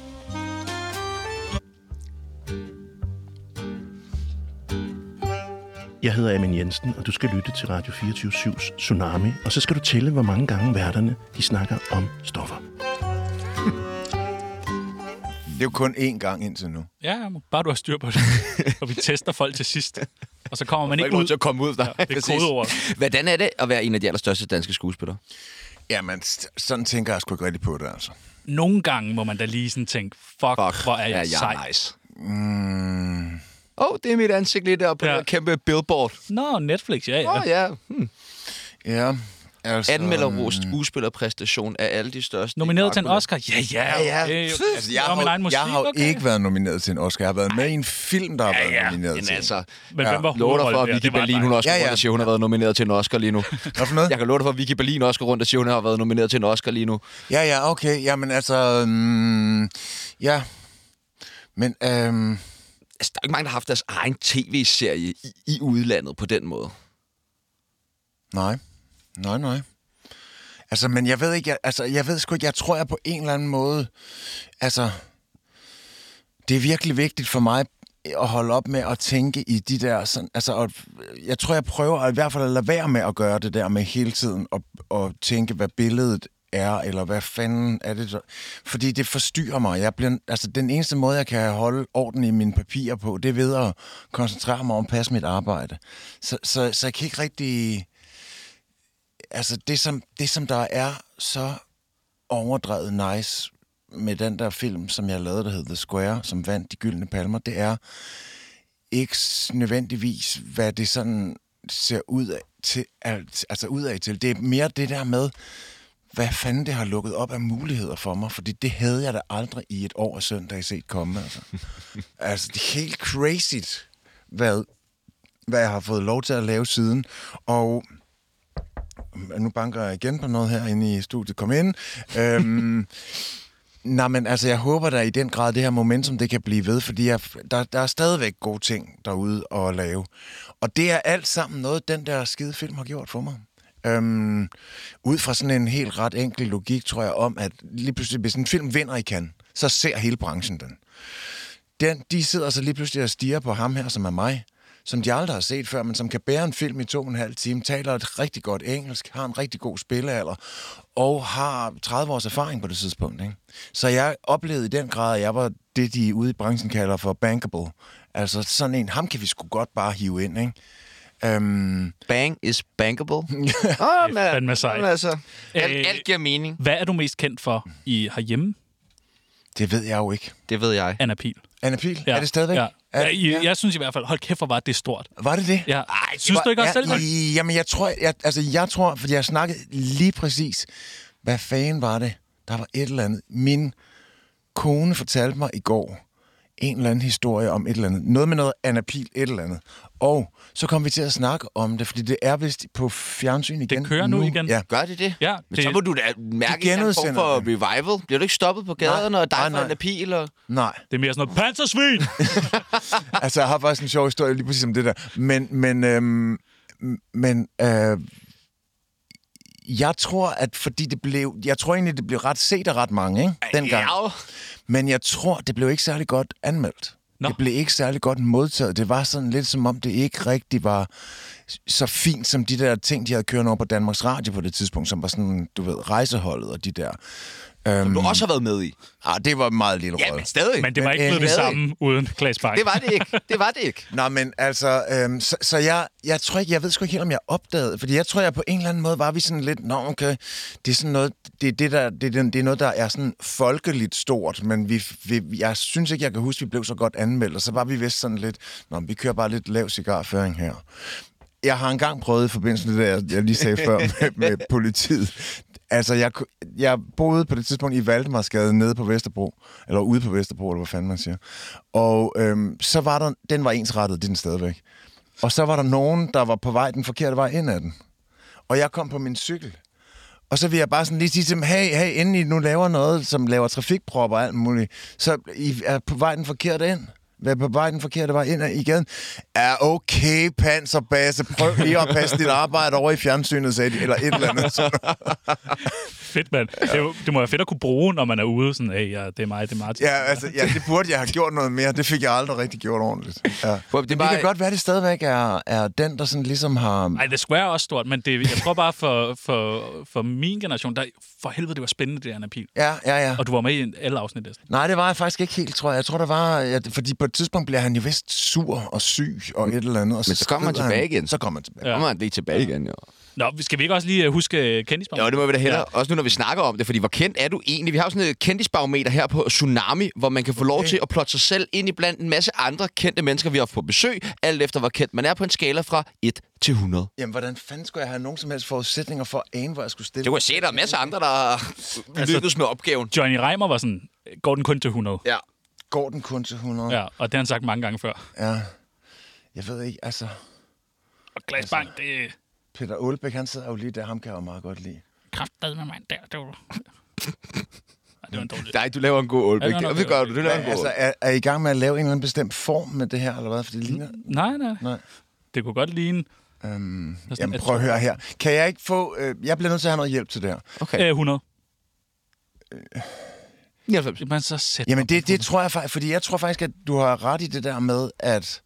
[SPEAKER 6] Jeg hedder Amin Jensen, og du skal lytte til Radio 24-7's Tsunami, og så skal du tælle, hvor mange gange værterne de snakker om stoffer.
[SPEAKER 1] Det er jo kun én gang indtil nu.
[SPEAKER 2] Ja, ja, bare du har styr på [laughs] det. og vi tester folk til sidst. Og så kommer man
[SPEAKER 3] Jeg
[SPEAKER 2] ikke
[SPEAKER 3] ikke lov
[SPEAKER 2] ud.
[SPEAKER 3] til at komme ud. Nej,
[SPEAKER 2] Ja, det er
[SPEAKER 3] præcis.
[SPEAKER 2] kodeordet.
[SPEAKER 3] Hvordan er det at være en af de allerstørste danske skuespillere?
[SPEAKER 1] Jamen, s- sådan tænker jeg sgu ikke rigtig på det, altså.
[SPEAKER 2] Nogle gange må man da lige sådan tænke, fuck, fuck hvor er jeg,
[SPEAKER 3] ja,
[SPEAKER 2] sej. Mm.
[SPEAKER 3] er nice. Mm. Oh, det er mit ansigt lige der på ja.
[SPEAKER 2] Ja.
[SPEAKER 3] den kæmpe billboard.
[SPEAKER 2] Nå, Netflix, ja, ja.
[SPEAKER 3] Åh oh, ja. Hmm.
[SPEAKER 1] Ja, altså...
[SPEAKER 3] Anmelder vores skuespillerpræstation af alle de største.
[SPEAKER 2] Nomineret til en
[SPEAKER 3] Dracula.
[SPEAKER 2] Oscar? Ja, ja.
[SPEAKER 3] Ja, ja.
[SPEAKER 2] Øh,
[SPEAKER 1] Altså, jeg
[SPEAKER 2] og min
[SPEAKER 1] har,
[SPEAKER 2] egen musik,
[SPEAKER 1] jeg har jo
[SPEAKER 2] okay.
[SPEAKER 1] ikke været nomineret til en Oscar. Jeg har været med i en film, der har været
[SPEAKER 3] Ja,
[SPEAKER 1] nomineret
[SPEAKER 3] men
[SPEAKER 1] til. en.
[SPEAKER 3] altså,
[SPEAKER 2] Men hvem var
[SPEAKER 3] lover dig for,
[SPEAKER 2] hovedrollen
[SPEAKER 3] at
[SPEAKER 2] der?
[SPEAKER 3] Vicky
[SPEAKER 2] Det var
[SPEAKER 3] Berlin,
[SPEAKER 2] dig.
[SPEAKER 3] hun også
[SPEAKER 1] Ja,
[SPEAKER 3] ja,
[SPEAKER 1] ja.
[SPEAKER 3] ja. rundt og siger, hun har været nomineret til en Oscar lige
[SPEAKER 2] [laughs]
[SPEAKER 3] nu.
[SPEAKER 1] Hvad for noget?
[SPEAKER 3] Jeg kan love dig for, at Vicky Berlin også går rundt og siger, hun har været nomineret til en Oscar lige nu.
[SPEAKER 1] Ja, ja, okay. Jamen altså... Mm, ja. Men øhm,
[SPEAKER 3] Altså, der er jo ikke mange, der har haft deres egen tv-serie i, i udlandet på den måde.
[SPEAKER 1] nej. Nej, nej. Altså, men jeg ved ikke... Jeg, altså, jeg ved sgu ikke... Jeg tror, jeg på en eller anden måde... Altså... Det er virkelig vigtigt for mig at holde op med at tænke i de der... Sådan, altså, og, jeg tror, jeg prøver at, i hvert fald at lade være med at gøre det der med hele tiden og, og tænke, hvad billedet er, eller hvad fanden er det? så- Fordi det forstyrrer mig. Jeg bliver, altså, den eneste måde, jeg kan holde orden i mine papirer på, det er ved at koncentrere mig om at passe mit arbejde. Så, så, så jeg kan ikke rigtig... Altså, det som, det som der er så overdrevet nice med den der film, som jeg lavede, der hed The Square, som vandt de gyldne palmer, det er ikke s- nødvendigvis, hvad det sådan ser ud af til, al- altså ud af til. Det er mere det der med, hvad fanden det har lukket op af muligheder for mig, fordi det havde jeg da aldrig i et år af søndag set komme. Altså, altså det er helt crazy, hvad, hvad jeg har fået lov til at lave siden. Og nu banker jeg igen på noget her inde i studiet. Kom ind. Øhm, Nej, men altså, jeg håber da i den grad, det her momentum, det kan blive ved, fordi jeg, der, der er stadigvæk gode ting derude at lave. Og det er alt sammen noget, den der skide film har gjort for mig. Øhm, ud fra sådan en helt ret enkel logik, tror jeg, om, at lige pludselig, hvis en film vinder i kan, så ser hele branchen den. den. De sidder så lige pludselig og stiger på ham her, som er mig, som de aldrig har set før, men som kan bære en film i to og en halv time, taler et rigtig godt engelsk, har en rigtig god spillealder, og har 30 års erfaring på det tidspunkt. Ikke? Så jeg oplevede i den grad, at jeg var det, de ude i branchen kalder for bankable. Altså sådan en, ham kan vi sgu godt bare hive ind, ikke? Øhm,
[SPEAKER 3] Bang is
[SPEAKER 2] [laughs]
[SPEAKER 3] bankable. Åh, oh, man.
[SPEAKER 2] fandme sejt.
[SPEAKER 3] Men altså,
[SPEAKER 2] Øh,
[SPEAKER 3] alt, alt giver mening.
[SPEAKER 2] Hvad er du mest kendt for i herhjemme,
[SPEAKER 1] det ved jeg jo ikke.
[SPEAKER 3] Det ved jeg.
[SPEAKER 2] Anna Pihl?
[SPEAKER 1] Anna Pil, ja. er det stadigvæk?
[SPEAKER 2] Ja.
[SPEAKER 1] Er,
[SPEAKER 2] Ja, jeg, jeg synes i hvert fald, hold kæft, hvor var det stort.
[SPEAKER 1] Var det det?
[SPEAKER 2] Ja. Ej, synes du ikke også selv,
[SPEAKER 1] ja,
[SPEAKER 2] det?
[SPEAKER 1] i- Jamen, jeg tror, jeg, altså, jeg tror, fordi jeg snakkede lige præcis, hvad fanden var det? Der var et eller andet. Min kone fortalte mig i går en eller anden historie om et eller andet. Noget med noget anapil, et eller andet. Og så kom vi til at snakke om det, fordi det er vist på fjernsyn igen.
[SPEAKER 2] kører nu igen.
[SPEAKER 1] Ja.
[SPEAKER 3] Gør det det?
[SPEAKER 2] Ja,
[SPEAKER 3] Men
[SPEAKER 2] det-
[SPEAKER 3] så må du da mærke
[SPEAKER 1] De
[SPEAKER 3] en eller anden form
[SPEAKER 1] genudsender
[SPEAKER 3] for
[SPEAKER 1] den.
[SPEAKER 3] revival. Bliver du ikke stoppet på gaderne og dig
[SPEAKER 1] nej,
[SPEAKER 3] for
[SPEAKER 1] nej.
[SPEAKER 3] en pil? Og...
[SPEAKER 2] [laughs]
[SPEAKER 1] Nej.
[SPEAKER 2] Det er mere sådan noget, pansersvin!
[SPEAKER 1] altså, jeg har faktisk en sjov historie lige præcis om det der. Men, men, øhm, men øh, jeg tror, at fordi det blev... Jeg tror egentlig, det blev ret set af ret mange, ikke? Dengang.
[SPEAKER 3] Ja,
[SPEAKER 1] Men jeg tror, det blev ikke særlig godt anmeldt.
[SPEAKER 2] Nå.
[SPEAKER 1] Nå. Det blev ikke særlig godt modtaget. Det var sådan lidt som om, det ikke rigtig var så fint som de der ting, de havde kørt over på Danmarks Radio på det tidspunkt, som var sådan, du ved, rejseholdet og de der.
[SPEAKER 3] som du også har været med i.
[SPEAKER 1] Ah, det var en meget lille
[SPEAKER 3] Ja,
[SPEAKER 1] råd.
[SPEAKER 3] men stadig.
[SPEAKER 2] Mm. Men det var
[SPEAKER 1] Men
[SPEAKER 2] ikke blevet det
[SPEAKER 1] anyway.
[SPEAKER 2] samme uden Klaas Bang.
[SPEAKER 3] Det var det ikke. Det var det ikke.
[SPEAKER 1] Nå, men altså, øhm, så, så jeg, jeg tror ikke, jeg ved sgu ikke helt, om jeg opdagede, fordi jeg tror, jeg på en eller anden måde var vi sådan lidt, nå, okay, det er sådan noget, det, er det, der, det, er den- det er noget, der er sådan folkeligt stort, men vi, vi, jeg synes ikke, jeg kan huske, vi blev så godt anmeldt, og så var vi vist sådan lidt, nå, men vi kører bare lidt lav cigarføring her. Jeg har engang prøvet i forbindelse med det, jeg, jeg lige sagde før med, med politiet. Altså, jeg, ku- jeg boede på det tidspunkt i Valdemarsgade nede på Vesterbro, eller ude på Vesterbro, eller hvad fanden man siger. Og øhm, så var der, den var ensrettet, det er den stadigvæk. Og så var der nogen, der var på vej den forkerte vej ind ad den. Og jeg kom på min cykel. Og så vil jeg bare sådan lige sige til dem, hey, hey, inden I nu laver noget, som laver trafikpropper og alt muligt, så I er på vej den forkerte ind. Vær på vej den forkerte vej ind i gaden. Ja, okay, panserbase. Prøv lige at passe dit arbejde over i fjernsynet, sagde de, eller et eller andet. Så,
[SPEAKER 2] Fedt, mand. Det, er jo, det må være fedt at kunne bruge, når man er ude. Sådan, hey, ja, det er mig, det er Martin.
[SPEAKER 1] ja, altså, ja, det burde jeg have gjort noget mere. Det fik jeg aldrig rigtig gjort ordentligt. Ja.
[SPEAKER 3] Prøv,
[SPEAKER 1] Det,
[SPEAKER 3] det er
[SPEAKER 1] det
[SPEAKER 3] bare-
[SPEAKER 1] kan godt være, det stadigvæk er, er den, der sådan ligesom har...
[SPEAKER 2] Ej, The Square er også stort, men det, jeg tror bare, for, for, for min generation, der for helvede, det var spændende, det der Anapil.
[SPEAKER 1] Ja, ja, ja.
[SPEAKER 2] Og du var med i alle afsnit næsten.
[SPEAKER 1] Nej, det var jeg faktisk ikke helt, tror jeg. Jeg tror, der var... Ja, fordi på et tidspunkt bliver han jo vist sur og syg og et eller andet. Og
[SPEAKER 3] Men så kommer han
[SPEAKER 1] skrider
[SPEAKER 3] tilbage igen.
[SPEAKER 1] Så kommer han tilbage.
[SPEAKER 3] Ja. Kommer han lige tilbage igen, jo.
[SPEAKER 2] Nå, skal vi ikke også lige øh, huske øh, kendisbarn?
[SPEAKER 3] Jo, det må vi da hellere. Ja. Også nu, når vi snakker om det, fordi hvor kendt er du egentlig? Vi har jo sådan et kendisbarometer her på Tsunami, hvor man kan få lov til at plotte sig selv ind i blandt en masse andre kendte mennesker, vi har haft på besøg, alt efter hvor kendt man er på en skala fra 1 til 100.
[SPEAKER 1] Jamen, hvordan fanden skulle jeg have nogen som helst forudsætninger for at ane, hvor jeg skulle stille?
[SPEAKER 3] Det kunne jeg se, der er masser af andre, der har lykkedes med opgaven.
[SPEAKER 2] Johnny Reimer var sådan, "Øh, går den kun til 100?
[SPEAKER 3] Ja.
[SPEAKER 1] Går den kun til 100?
[SPEAKER 2] Ja, og det har han sagt mange gange før.
[SPEAKER 1] ja. Jeg ved ikke, altså...
[SPEAKER 2] Og Glas Bang, det er
[SPEAKER 1] Peter Olbæk, han sidder jo lige der. Ham kan jeg jo meget godt lide.
[SPEAKER 2] kraftedet med mig. Der, det
[SPEAKER 1] [laughs]
[SPEAKER 2] var... Ej, det var en dårlig...
[SPEAKER 3] Nej, du laver en god
[SPEAKER 2] Ja,
[SPEAKER 3] Aalbæk.
[SPEAKER 2] det var nok-
[SPEAKER 3] Ja, det gør du, du laver en
[SPEAKER 1] Men,
[SPEAKER 3] god
[SPEAKER 1] altså,
[SPEAKER 3] altså,
[SPEAKER 1] er, er, I gang med at lave en eller anden bestemt form med det her, eller hvad? For det ligner...
[SPEAKER 2] Nej, nej, nej.
[SPEAKER 1] Nej.
[SPEAKER 2] Det kunne godt ligne...
[SPEAKER 1] Øhm,
[SPEAKER 2] er sådan
[SPEAKER 1] jamen,
[SPEAKER 2] et-
[SPEAKER 1] prøv at høre her. Kan jeg ikke få... Øh, jeg bliver nødt til at have noget hjælp til det her.
[SPEAKER 3] Okay.
[SPEAKER 2] Øh, 100.
[SPEAKER 3] 99.
[SPEAKER 2] Jamen, så sæt
[SPEAKER 1] Jamen, det, det tror jeg faktisk, fordi jeg tror faktisk, at du har ret i det der med, at,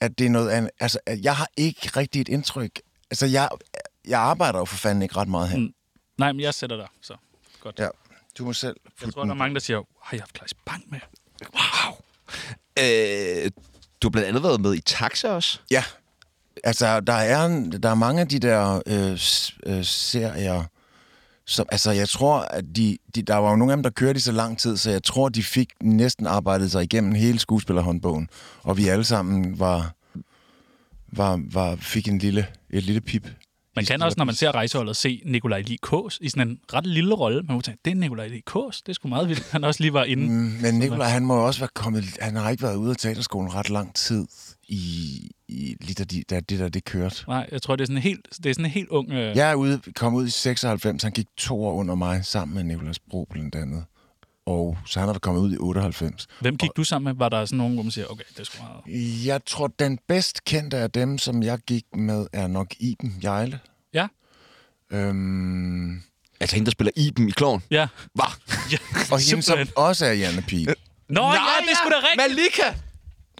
[SPEAKER 1] at det er noget andet. Altså, at jeg har ikke rigtig et indtryk. Altså, jeg, jeg arbejder jo for fanden ikke ret meget her. Mm.
[SPEAKER 2] Nej, men jeg sætter dig, så godt.
[SPEAKER 1] Ja, du må selv.
[SPEAKER 2] Jeg tror, der er mange, der siger, har jeg haft Glas Bang med?
[SPEAKER 3] Øh, du har blandt andet været med i Taxa også.
[SPEAKER 1] Ja. Altså, der er, en- der er mange af de der øh, s- øh, serier, som, altså, jeg tror, at de, de, der var jo nogle af dem, der kørte i så lang tid, så jeg tror, de fik næsten arbejdet sig igennem hele skuespillerhåndbogen. Og vi alle sammen var, var, var fik en lille, et lille pip.
[SPEAKER 2] Man
[SPEAKER 1] i
[SPEAKER 2] kan
[SPEAKER 1] stille
[SPEAKER 2] også, når
[SPEAKER 1] og
[SPEAKER 2] man ser rejseholdet, se Nikolaj Lee Kås i sådan en ret lille rolle. Man må tænke, det er Nikolaj Lee Kås. Det er sgu meget vildt. [laughs] Han også lige var inde. Mm.
[SPEAKER 1] Mm, Men Nikolaj, han må jo også være kommet... Han har ikke været ude af teaterskolen ret lang tid, i, i lige da, de, da det der, det kørte.
[SPEAKER 2] Nej, jeg tror, det er sådan en helt, det er sådan en helt ung... Øh... Ja.
[SPEAKER 1] Jeg er ude, kom ud i 96, han gik to år under mig, sammen med Nikolaj Bro blandt andet. Og så han er kommet ud i 98.
[SPEAKER 2] Hvem gik du sammen med? Var der sådan nogen, hvor man siger, okay, det er sgu meget...
[SPEAKER 1] Jeg tror, den bedst kendte af dem, som jeg gik med, er nok Iben Jejle.
[SPEAKER 2] Ja,
[SPEAKER 1] Øhm,
[SPEAKER 3] Altså hende, der spiller Iben i Kloven.
[SPEAKER 2] ja. [laughs]
[SPEAKER 3] Hva?
[SPEAKER 2] ja.
[SPEAKER 1] og hende, som
[SPEAKER 2] simpelthen.
[SPEAKER 1] også er Janne
[SPEAKER 3] Øh.
[SPEAKER 1] Pil.
[SPEAKER 2] Nå, Nej, ja, det er sgu da rigtigt.
[SPEAKER 3] Malika!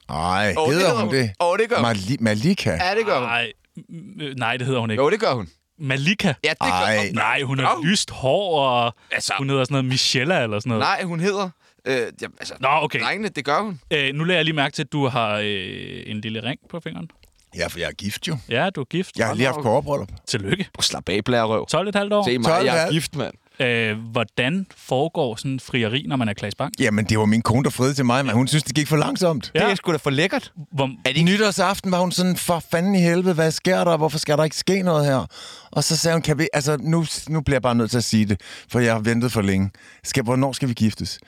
[SPEAKER 1] Ej,
[SPEAKER 3] Åh,
[SPEAKER 1] oh,
[SPEAKER 3] det
[SPEAKER 1] hedder
[SPEAKER 3] gør
[SPEAKER 1] hun
[SPEAKER 3] hun.
[SPEAKER 1] det?
[SPEAKER 3] Åh, det gør hun.
[SPEAKER 1] Mali- Malika?
[SPEAKER 3] Ja, det gør hun.
[SPEAKER 2] Nej, m- øh, nej, det hedder hun ikke.
[SPEAKER 3] Jo, det gør hun.
[SPEAKER 2] Malika.
[SPEAKER 3] Ja, det gør
[SPEAKER 1] Ej.
[SPEAKER 3] hun.
[SPEAKER 2] Nej, hun har
[SPEAKER 3] Au.
[SPEAKER 2] lyst hår, og
[SPEAKER 3] Altså-
[SPEAKER 2] hun hedder sådan noget Michella eller sådan noget.
[SPEAKER 3] Nej, hun hedder... Øh, jamen, altså,
[SPEAKER 2] Nå, okay.
[SPEAKER 3] Drengene, det gør hun.
[SPEAKER 2] Øh, nu lader jeg lige mærke til, at du har øh, en lille ring på fingeren.
[SPEAKER 1] Ja, for jeg er gift jo.
[SPEAKER 2] Ja, du er gift.
[SPEAKER 1] Jeg har lige haft kårebryllup.
[SPEAKER 2] Tillykke.
[SPEAKER 3] Prøv, slap af, blærerøv.
[SPEAKER 2] 12,5 år.
[SPEAKER 3] Se mig,
[SPEAKER 1] 12,
[SPEAKER 3] jeg er
[SPEAKER 1] ja.
[SPEAKER 3] gift, mand.
[SPEAKER 2] Øh, hvordan foregår sådan en frieri, når man er Klaas Bang?
[SPEAKER 1] Jamen, det var min kone, der friede til mig, men hun synes, det gik for langsomt.
[SPEAKER 2] Ja.
[SPEAKER 3] sgu da for lækkert.
[SPEAKER 2] Hvor,
[SPEAKER 1] Er det... Nytårsaften var hun sådan, for fanden i helvede, hvad sker der? Hvorfor skal der ikke ske noget her? Og så sagde hun, kan vi... Altså, nu, nu bliver jeg bare nødt til at sige det, for jeg har ventet for længe. Skal, hvornår skal vi giftes?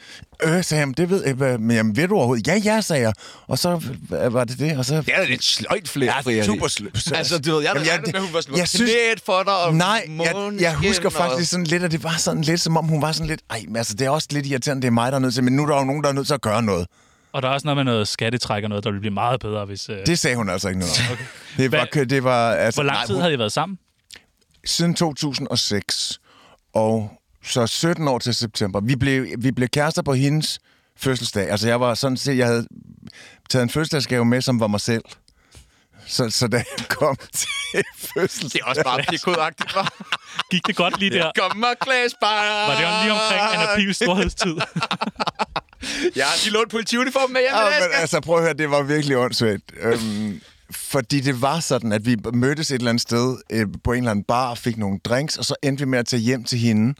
[SPEAKER 1] Øh, sagde jeg, "Men det ved jeg, ikke, hvad- men jamen, ved du overhovedet? Ja, ja, sagde jeg. Og så øh, var det det, og så...
[SPEAKER 3] Det er da lidt sløjt flere
[SPEAKER 1] Ja,
[SPEAKER 3] frieri.
[SPEAKER 1] super sløjt.
[SPEAKER 3] Altså, du ved, jeg
[SPEAKER 1] Jamen,
[SPEAKER 3] havde
[SPEAKER 1] jeg-
[SPEAKER 3] regnet med, hun var sådan,
[SPEAKER 1] jeg
[SPEAKER 3] jeg
[SPEAKER 1] synes-
[SPEAKER 3] synes... for dig og
[SPEAKER 1] Nej, jeg, jeg
[SPEAKER 3] måneskin
[SPEAKER 1] husker
[SPEAKER 3] og-
[SPEAKER 1] faktisk sådan lidt, at det var sådan lidt, som om hun var sådan lidt... Ej, men altså, det er også lidt irriterende, det er mig, der er nødt til... Men nu er der jo nogen, der er nødt til at gøre noget.
[SPEAKER 2] og der er også noget med noget skattetræk og noget, der ville blive meget bedre, hvis... Øh,
[SPEAKER 1] Det sagde hun altså ikke noget om. Okay. Det var...
[SPEAKER 2] Hvad-
[SPEAKER 1] Det var altså,
[SPEAKER 2] hvor lang
[SPEAKER 1] nej,
[SPEAKER 2] tid
[SPEAKER 1] hun-
[SPEAKER 2] havde I været sammen?
[SPEAKER 1] siden 2006, og så 17 år til september. Vi blev, vi blev kærester på hendes fødselsdag. Altså, jeg var sådan set, jeg havde taget en fødselsdagsgave med, som var mig selv. Så, så da jeg kom [laughs] til
[SPEAKER 3] Det
[SPEAKER 1] fødselsdag...
[SPEAKER 3] er også bare pikkodagtigt, hva'?
[SPEAKER 2] Gik det godt lige der?
[SPEAKER 3] Kom og Klaas bare.
[SPEAKER 2] Var det jo lige omkring Anna Pils
[SPEAKER 3] [laughs]
[SPEAKER 2] storhedstid?
[SPEAKER 3] Jeg har lige lånt politiuniformen med hjemme,
[SPEAKER 1] Ja, men, altså, prøv at høre, det var virkelig åndssvagt. Øhm, fordi det var sådan, at vi mødtes et eller andet sted øh, på en eller anden bar, og fik nogle drinks, og så endte vi med at tage hjem til hende.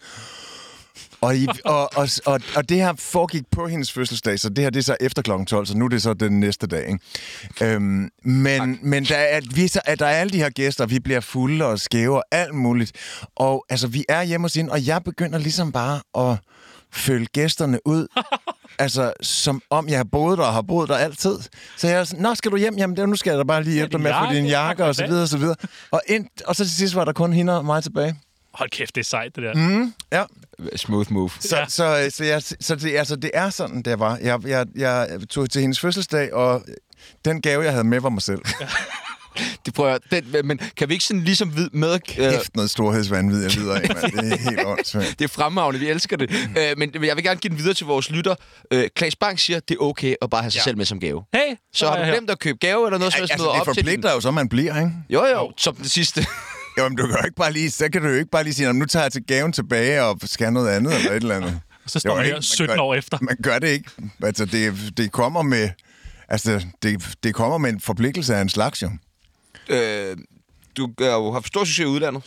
[SPEAKER 1] Og, I, og, og, og, og det her foregik på hendes fødselsdag, så det her det er så efter kl. 12, så nu er det så den næste dag. Ikke? Øhm, men men der, er, vi, så, at der er alle de her gæster, vi bliver fulde og skæve og alt muligt. Og altså, vi er hjemme hos hende, og jeg begynder ligesom bare at følge gæsterne [laughs] ud. altså, som om jeg har boet der og har boet der altid. Så jeg er sådan, nå, skal du hjem? Jamen, det, nu skal jeg da bare lige hjælpe dig
[SPEAKER 2] din
[SPEAKER 1] med at få
[SPEAKER 2] jakke, tak
[SPEAKER 1] din jakke
[SPEAKER 2] for
[SPEAKER 1] og så
[SPEAKER 2] det.
[SPEAKER 1] videre og så videre. Og, ind, og så til sidst var der kun hende og mig tilbage.
[SPEAKER 2] Hold kæft, det er sejt, det der. Mm.
[SPEAKER 1] Ja.
[SPEAKER 3] Smooth move.
[SPEAKER 1] Så, ja. så, øh, så, jeg, så det, altså, det er sådan, det var. Jeg, jeg, jeg tog til hendes fødselsdag, og den gave, jeg havde med, var mig selv.
[SPEAKER 3] Det prøver jeg. Den, men kan vi ikke sådan ligesom vid- med... Øh,
[SPEAKER 1] Kæft noget storhedsvandvid, jeg lider af, mand. Det er helt åndssvagt.
[SPEAKER 3] det er fremragende, vi elsker det.
[SPEAKER 1] Mm.
[SPEAKER 3] Øh, men men jeg vil gerne give den videre til vores lytter. Øh, Klaas Bang siger, det er okay at bare have sig
[SPEAKER 2] Ja.
[SPEAKER 3] ja. selv med som gave.
[SPEAKER 2] Hey,
[SPEAKER 3] Så
[SPEAKER 2] er
[SPEAKER 3] har
[SPEAKER 2] jeg
[SPEAKER 3] du
[SPEAKER 2] her.
[SPEAKER 3] glemt at købe gave eller noget, så
[SPEAKER 1] Altså,
[SPEAKER 3] altså, noget
[SPEAKER 1] det
[SPEAKER 3] op til den.
[SPEAKER 1] forpligter jo så, man bliver, ikke?
[SPEAKER 3] Jo, jo, som den sidste. [laughs]
[SPEAKER 1] Jamen, du kan jo ikke bare lige, så kan du jo ikke bare lige sige, "Nå, men nu tager jeg til gaven tilbage og skal have noget andet eller et eller
[SPEAKER 2] [laughs]
[SPEAKER 1] andet.
[SPEAKER 2] Så står
[SPEAKER 1] Jo,
[SPEAKER 2] man
[SPEAKER 1] ikke?
[SPEAKER 2] her 17
[SPEAKER 1] gør,
[SPEAKER 2] år efter.
[SPEAKER 1] Man gør det ikke. Altså, det, det kommer med... Altså, det, det kommer med en forpligtelse af en slags, jo.
[SPEAKER 3] øh, du har jo haft stor succes i udlandet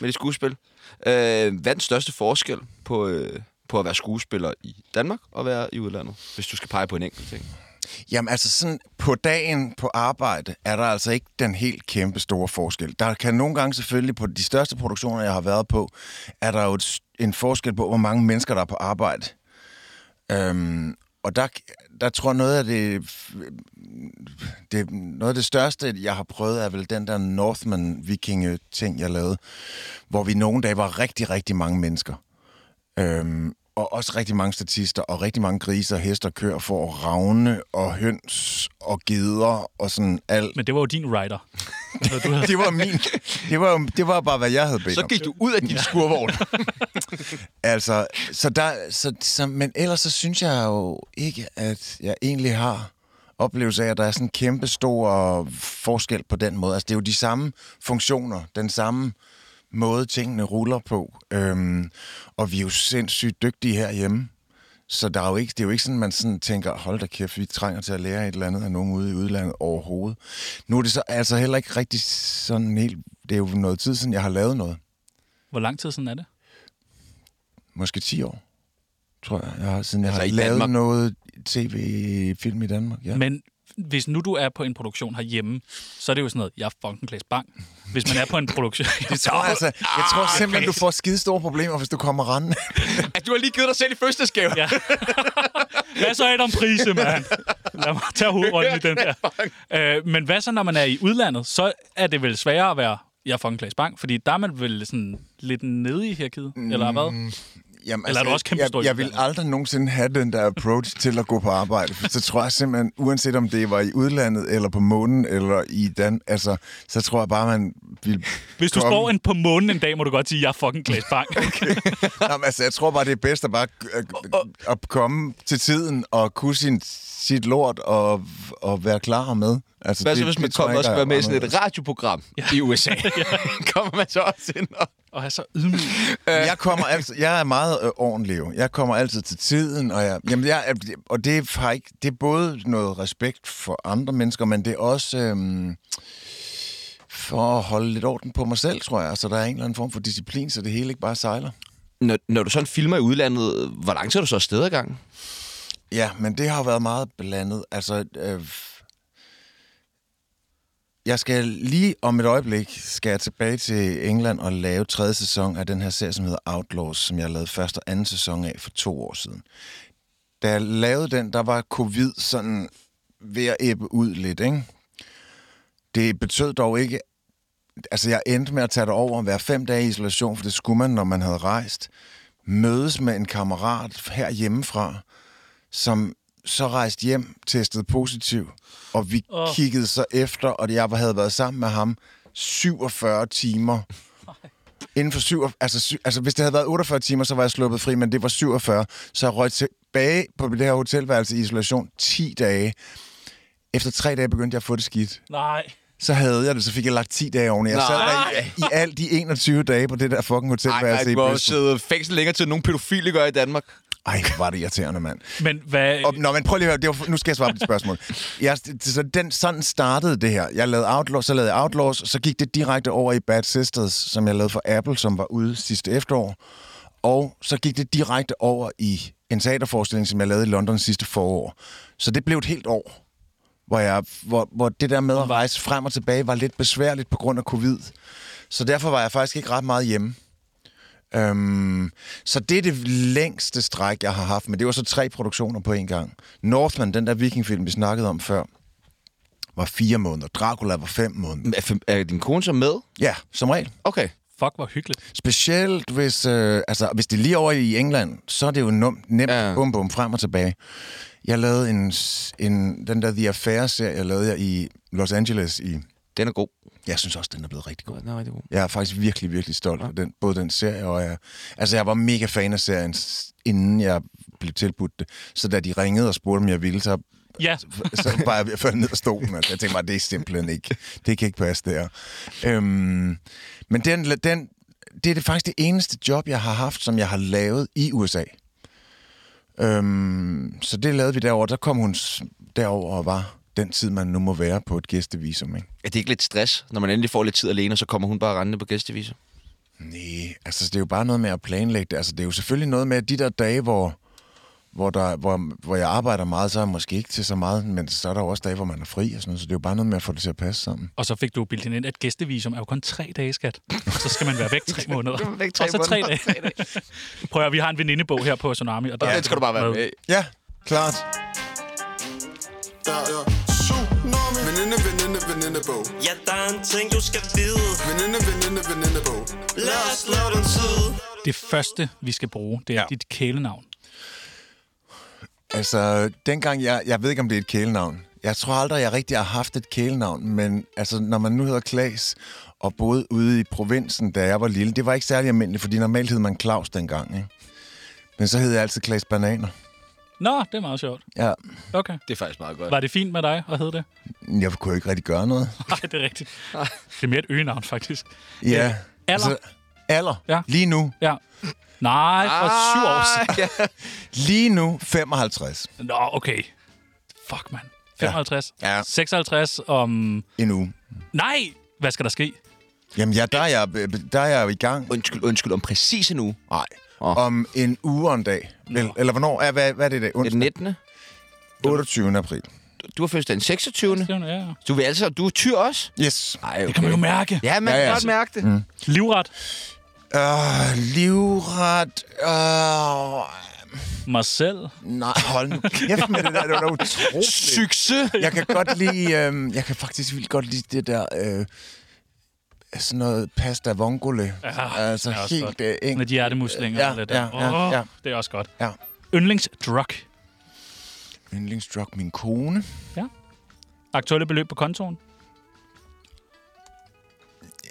[SPEAKER 3] med dit skuespil. Øh, hvad er den største forskel på, øh, på at være skuespiller i Danmark og være i udlandet? Hvis du skal pege på en enkelt ting.
[SPEAKER 1] Jamen altså sådan, på dagen på arbejde er der altså ikke den helt kæmpe store forskel. Der kan nogle gange selvfølgelig på de største produktioner, jeg har været på, er der jo et, s- en forskel på, hvor mange mennesker der er på arbejde. Øhm, og der, der tror jeg noget af det, det, noget af det største, jeg har prøvet, er vel den der Northman vikinge-ting, jeg lavede, hvor vi nogle dage var rigtig, rigtig mange mennesker. Øhm, og også rigtig mange statister, og rigtig mange griser, hester, køer, får ravne, og høns, og geder, og sådan alt.
[SPEAKER 2] Men det var jo din rider. Når du havde...
[SPEAKER 1] Det var min. Det var, det var bare, hvad jeg havde bedt
[SPEAKER 3] Så
[SPEAKER 1] om.
[SPEAKER 3] gik du ud af din skurvogn.
[SPEAKER 1] [laughs] Altså, så der, så, så, men ellers så synes jeg jo ikke, at jeg egentlig har oplevelse af, at der er sådan en kæmpe stor forskel på den måde. Altså, det er jo de samme funktioner, den samme måde, tingene ruller på. Øhm, og vi er jo sindssygt dygtige herhjemme. Så der er jo ikke, det er jo ikke sådan, man sådan tænker, hold da kæft, vi trænger til at lære et eller andet af nogen ude i udlandet overhovedet. Nu er det så altså heller ikke rigtig sådan helt... Det er jo noget tid siden, jeg har lavet noget
[SPEAKER 2] Hvor lang tid sådan er det?
[SPEAKER 1] måske 10 år, tror jeg, jeg har, siden jeg
[SPEAKER 3] Altså
[SPEAKER 1] har
[SPEAKER 3] i
[SPEAKER 1] lavet
[SPEAKER 3] Danmark?
[SPEAKER 1] noget tv-film i Danmark. Ja.
[SPEAKER 2] Ja. Men hvis nu du er på en produktion herhjemme, så er det jo sådan noget, jeg er fucking Klaas Bang. Hvis man er på en
[SPEAKER 3] [laughs]
[SPEAKER 2] produktion... det
[SPEAKER 1] Så, altså, jeg
[SPEAKER 2] ah,
[SPEAKER 1] tror simpelthen, du får skide store problemer, hvis du kommer rendende. [laughs]
[SPEAKER 3] At du har lige givet dig selv i fødselsdagsgave.
[SPEAKER 2] Ja. [laughs] Hvad så, Adam Prise, mand? Lad mig tage hovedrollen i den der. Øh, men hvad så, når man er i udlandet? Så er det vel sværere at være, jeg er fucking Klaas Bang, fordi der er man vel sådan lidt nede i hierarkiet, mm. eller hvad?
[SPEAKER 1] Jamen, altså,
[SPEAKER 2] Eller er du også kæmpe stor
[SPEAKER 1] jeg,
[SPEAKER 2] i
[SPEAKER 1] jeg vil
[SPEAKER 2] udlandet?
[SPEAKER 1] aldrig nogensinde have den der approach til at gå på arbejde. For så tror jeg simpelthen, uanset om det var i udlandet, eller på månen, eller i Dan, altså, så tror jeg bare, man vil
[SPEAKER 2] Hvis du
[SPEAKER 1] komme-
[SPEAKER 2] står en på månen en dag, må du godt sige, jeg er fucking Klaas Bang. Okay.
[SPEAKER 1] Jamen, altså, jeg tror bare, det er bedst at bare øh, at komme til tiden og kunne sin, sit lort og, og være klar med. Altså,
[SPEAKER 3] Hvad så,
[SPEAKER 1] det-
[SPEAKER 3] hvis
[SPEAKER 1] det
[SPEAKER 3] man
[SPEAKER 1] tror
[SPEAKER 3] kommer
[SPEAKER 1] jeg
[SPEAKER 3] og
[SPEAKER 1] ikke
[SPEAKER 3] skal
[SPEAKER 1] er
[SPEAKER 3] være med i sådan et
[SPEAKER 1] anderledes.
[SPEAKER 3] radioprogram i
[SPEAKER 1] [laughs]
[SPEAKER 3] USA? kommer man så også ind og...
[SPEAKER 2] [laughs] Og have så ydmyg.
[SPEAKER 1] jeg kommer altså, jeg er meget øh, ordentlig jo. Jeg kommer altid til tiden, og, jeg, jamen jeg, er- og det, har ikke, det er både noget respekt for andre mennesker, men det er også øhm, for at holde lidt orden på mig selv, tror jeg. Så der er en eller anden form for disciplin, så det hele ikke bare sejler.
[SPEAKER 3] Når, når du sådan filmer i udlandet, hvor lang tid er du så afsted ad gangen?
[SPEAKER 1] Ja, men det har været meget blandet. Altså, øh, jeg skal lige om et øjeblik skal jeg tilbage til England og lave tredje sæson af den her serie, som hedder Outlaws, som jeg lavede første og anden sæson af for to år siden. Da jeg lavede den, der var covid sådan ved at æbbe ud lidt, ikke? Det betød dog ikke... Altså, jeg endte med at tage det over og være fem dage i isolation, for det skulle man, når man havde rejst. Mødes med en kammerat herhjemmefra, som så rejste hjem, testede positiv, og vi oh. kiggede så efter, og jeg havde været sammen med ham 47 timer. Inden for 7, altså, sy, altså, hvis det havde været 48 timer, så var jeg sluppet fri, men det var 47. Så jeg røg tilbage på det her hotelværelse i isolation 10 dage. Efter tre dage begyndte jeg at få det skidt.
[SPEAKER 2] Nej.
[SPEAKER 1] Så havde jeg det, så fik jeg lagt 10 dage oveni. Jeg sad der i, i alt de 21 dage på det der fucking hotelværelse i Bristol.
[SPEAKER 3] sidde fængsel længere til, nogle pædofile gør i Danmark.
[SPEAKER 1] Ej, hvor var det irriterende, mand.
[SPEAKER 2] Men hvad...
[SPEAKER 1] Og, nå, men prøv lige at høre, det var, nu skal jeg svare på dit spørgsmål. Jeg, så den, sådan startede det her. Jeg lavede Outlaws, så lavede jeg Outlaws, og så gik det direkte over i Bad Sisters, som jeg lavede for Apple, som var ude sidste efterår. Og så gik det direkte over i en teaterforestilling, som jeg lavede i London sidste forår. Så det blev et helt år, hvor, jeg, hvor, hvor det der med at rejse frem og tilbage var lidt besværligt på grund af covid. Så derfor var jeg faktisk ikke ret meget hjemme. Øhm, så det er det længste stræk, jeg har haft, men det var så tre produktioner på en gang. Northman, den der vikingfilm, vi snakkede om før, var fire måneder. Dracula var fem måneder.
[SPEAKER 3] Er, er din kone så med?
[SPEAKER 1] Ja, som regel.
[SPEAKER 3] Okay.
[SPEAKER 2] Fuck, hvor hyggeligt.
[SPEAKER 1] Specielt hvis, øh, altså, hvis det er lige over i England, så er det jo num, nemt,
[SPEAKER 3] Ja.
[SPEAKER 1] ja. bum bum, frem og tilbage. Jeg lavede en, s- en, den der The Affair-serie, lavede jeg i Los Angeles i...
[SPEAKER 3] Den er god.
[SPEAKER 1] Jeg synes også, den er blevet rigtig god.
[SPEAKER 3] Den er rigtig god.
[SPEAKER 1] Jeg er faktisk virkelig, virkelig stolt af den, både den serie og jeg... Altså, jeg var mega fan af serien, s- inden jeg blev tilbudt det. Så da de ringede og spurgte, om jeg ville, så
[SPEAKER 2] Ja,
[SPEAKER 1] så var jeg ved at falde ned af stolen. Altså. Jeg tænkte mig, det er simpelthen ikke. Det kan ikke passe, det her. Øhm, men den, den, det er det faktisk det eneste job, jeg har haft, som jeg har lavet i USA. Øhm, så det lavede vi derover. Der kom hun s- derover og var den tid, man nu må være på et gæstevisum. Ikke?
[SPEAKER 3] Er det ikke lidt stress, når man endelig får lidt tid alene, og så kommer hun bare rendende på gæsteviser?
[SPEAKER 1] Nej, altså det er jo bare noget med at planlægge det. Altså det er jo selvfølgelig noget med at de der dage, hvor, hvor, der, hvor, hvor jeg arbejder meget, så er jeg måske ikke til så meget, men så er der jo også dage, hvor man er fri og sådan noget, så det er jo bare noget med at få det til at passe sammen.
[SPEAKER 2] og så fik du bildt hende ind, at gæstevisum er jo kun tre dage, skat. Så skal man være væk tre måneder.
[SPEAKER 3] [laughs] Du er væk tre
[SPEAKER 2] og så
[SPEAKER 3] måneder.
[SPEAKER 2] tre dage. Prøv at høre, vi har en venindebog her på Tsunami. Og der
[SPEAKER 3] Ja, den skal du bare være med. i.
[SPEAKER 1] Ja, klart.
[SPEAKER 7] Ja, ja. Tsunami. Veninde, veninde, venindebog.
[SPEAKER 5] Ja, der er en ting, du skal vide.
[SPEAKER 7] Veninde, veninde, venindebog.
[SPEAKER 5] Lad os slå den tid.
[SPEAKER 2] Det første, vi skal bruge, det er ja. dit kælenavn.
[SPEAKER 1] Altså, dengang jeg... Jeg ved ikke, om det er et kælenavn. Jeg tror aldrig, jeg rigtig har haft et kælenavn, men altså, når man nu hedder Klaas og boede ude i provinsen, da jeg var lille, det var ikke særlig almindeligt, fordi normalt hed man Claus dengang, ikke? Men så hed jeg altid Klaas Bananer.
[SPEAKER 2] Nå, det er meget sjovt.
[SPEAKER 1] Ja,
[SPEAKER 2] Okay.
[SPEAKER 3] Det er faktisk meget godt.
[SPEAKER 2] Var det fint med dig at hedde det?
[SPEAKER 1] jeg kunne jo ikke rigtig gøre noget.
[SPEAKER 2] [laughs] Nej, det er rigtigt. Det er mere et øgenavn, faktisk.
[SPEAKER 1] Ja. altså,
[SPEAKER 2] Øh, alder?
[SPEAKER 1] alder?
[SPEAKER 2] Ja.
[SPEAKER 1] Ja. Lige nu.
[SPEAKER 2] Ja. Nej, for
[SPEAKER 1] Ah.
[SPEAKER 2] syv år siden.
[SPEAKER 3] Ja.
[SPEAKER 1] Lige nu 55.
[SPEAKER 2] Nå, okay. Fuck, mand. 55.
[SPEAKER 1] Ja.
[SPEAKER 2] 56 om...
[SPEAKER 1] En uge.
[SPEAKER 2] Nej! Hvad skal der ske?
[SPEAKER 1] Jamen, ja, der er jeg, der er jeg jo i gang.
[SPEAKER 3] Undskyld, undskyld, om præcis en uge.
[SPEAKER 1] Nej.
[SPEAKER 3] Åh.
[SPEAKER 1] Om en uge og en dag. Eller, eller hvornår? Ja, hvad, hvad er det i dag?
[SPEAKER 3] Er det
[SPEAKER 1] Onsdag?
[SPEAKER 3] 19.
[SPEAKER 1] 28. april.
[SPEAKER 3] Du har fødselsdag den 26.
[SPEAKER 2] Ja, ja.
[SPEAKER 3] Du vil altså, du er tyr også?
[SPEAKER 1] Yes.
[SPEAKER 3] Nej, okay.
[SPEAKER 2] Det kan man jo mærke.
[SPEAKER 3] Ja, man
[SPEAKER 1] Ja,
[SPEAKER 3] kan
[SPEAKER 1] ja.
[SPEAKER 3] godt mærke det. Mm.
[SPEAKER 2] Livret.
[SPEAKER 1] Øh, livret... Øh,
[SPEAKER 2] Mig selv.
[SPEAKER 1] nej, hold nu kæft med det der. Det var da utroligt.
[SPEAKER 3] Succes!
[SPEAKER 1] Jeg kan godt lide... Øh, jeg kan faktisk vildt godt lide det der... Øh, sådan noget pasta vongole.
[SPEAKER 2] Ja,
[SPEAKER 1] altså
[SPEAKER 2] det er også godt.
[SPEAKER 1] helt øh,
[SPEAKER 2] Med
[SPEAKER 1] enkelt.
[SPEAKER 2] de hjertemuslinger
[SPEAKER 1] Ja,
[SPEAKER 2] og det der.
[SPEAKER 1] ja, ja,
[SPEAKER 2] Åh,
[SPEAKER 1] ja.
[SPEAKER 2] Det er også godt.
[SPEAKER 1] Ja.
[SPEAKER 2] Yndlingsdrug.
[SPEAKER 1] Yndlingsdrug min kone.
[SPEAKER 2] Aktuelle beløb på kontoen.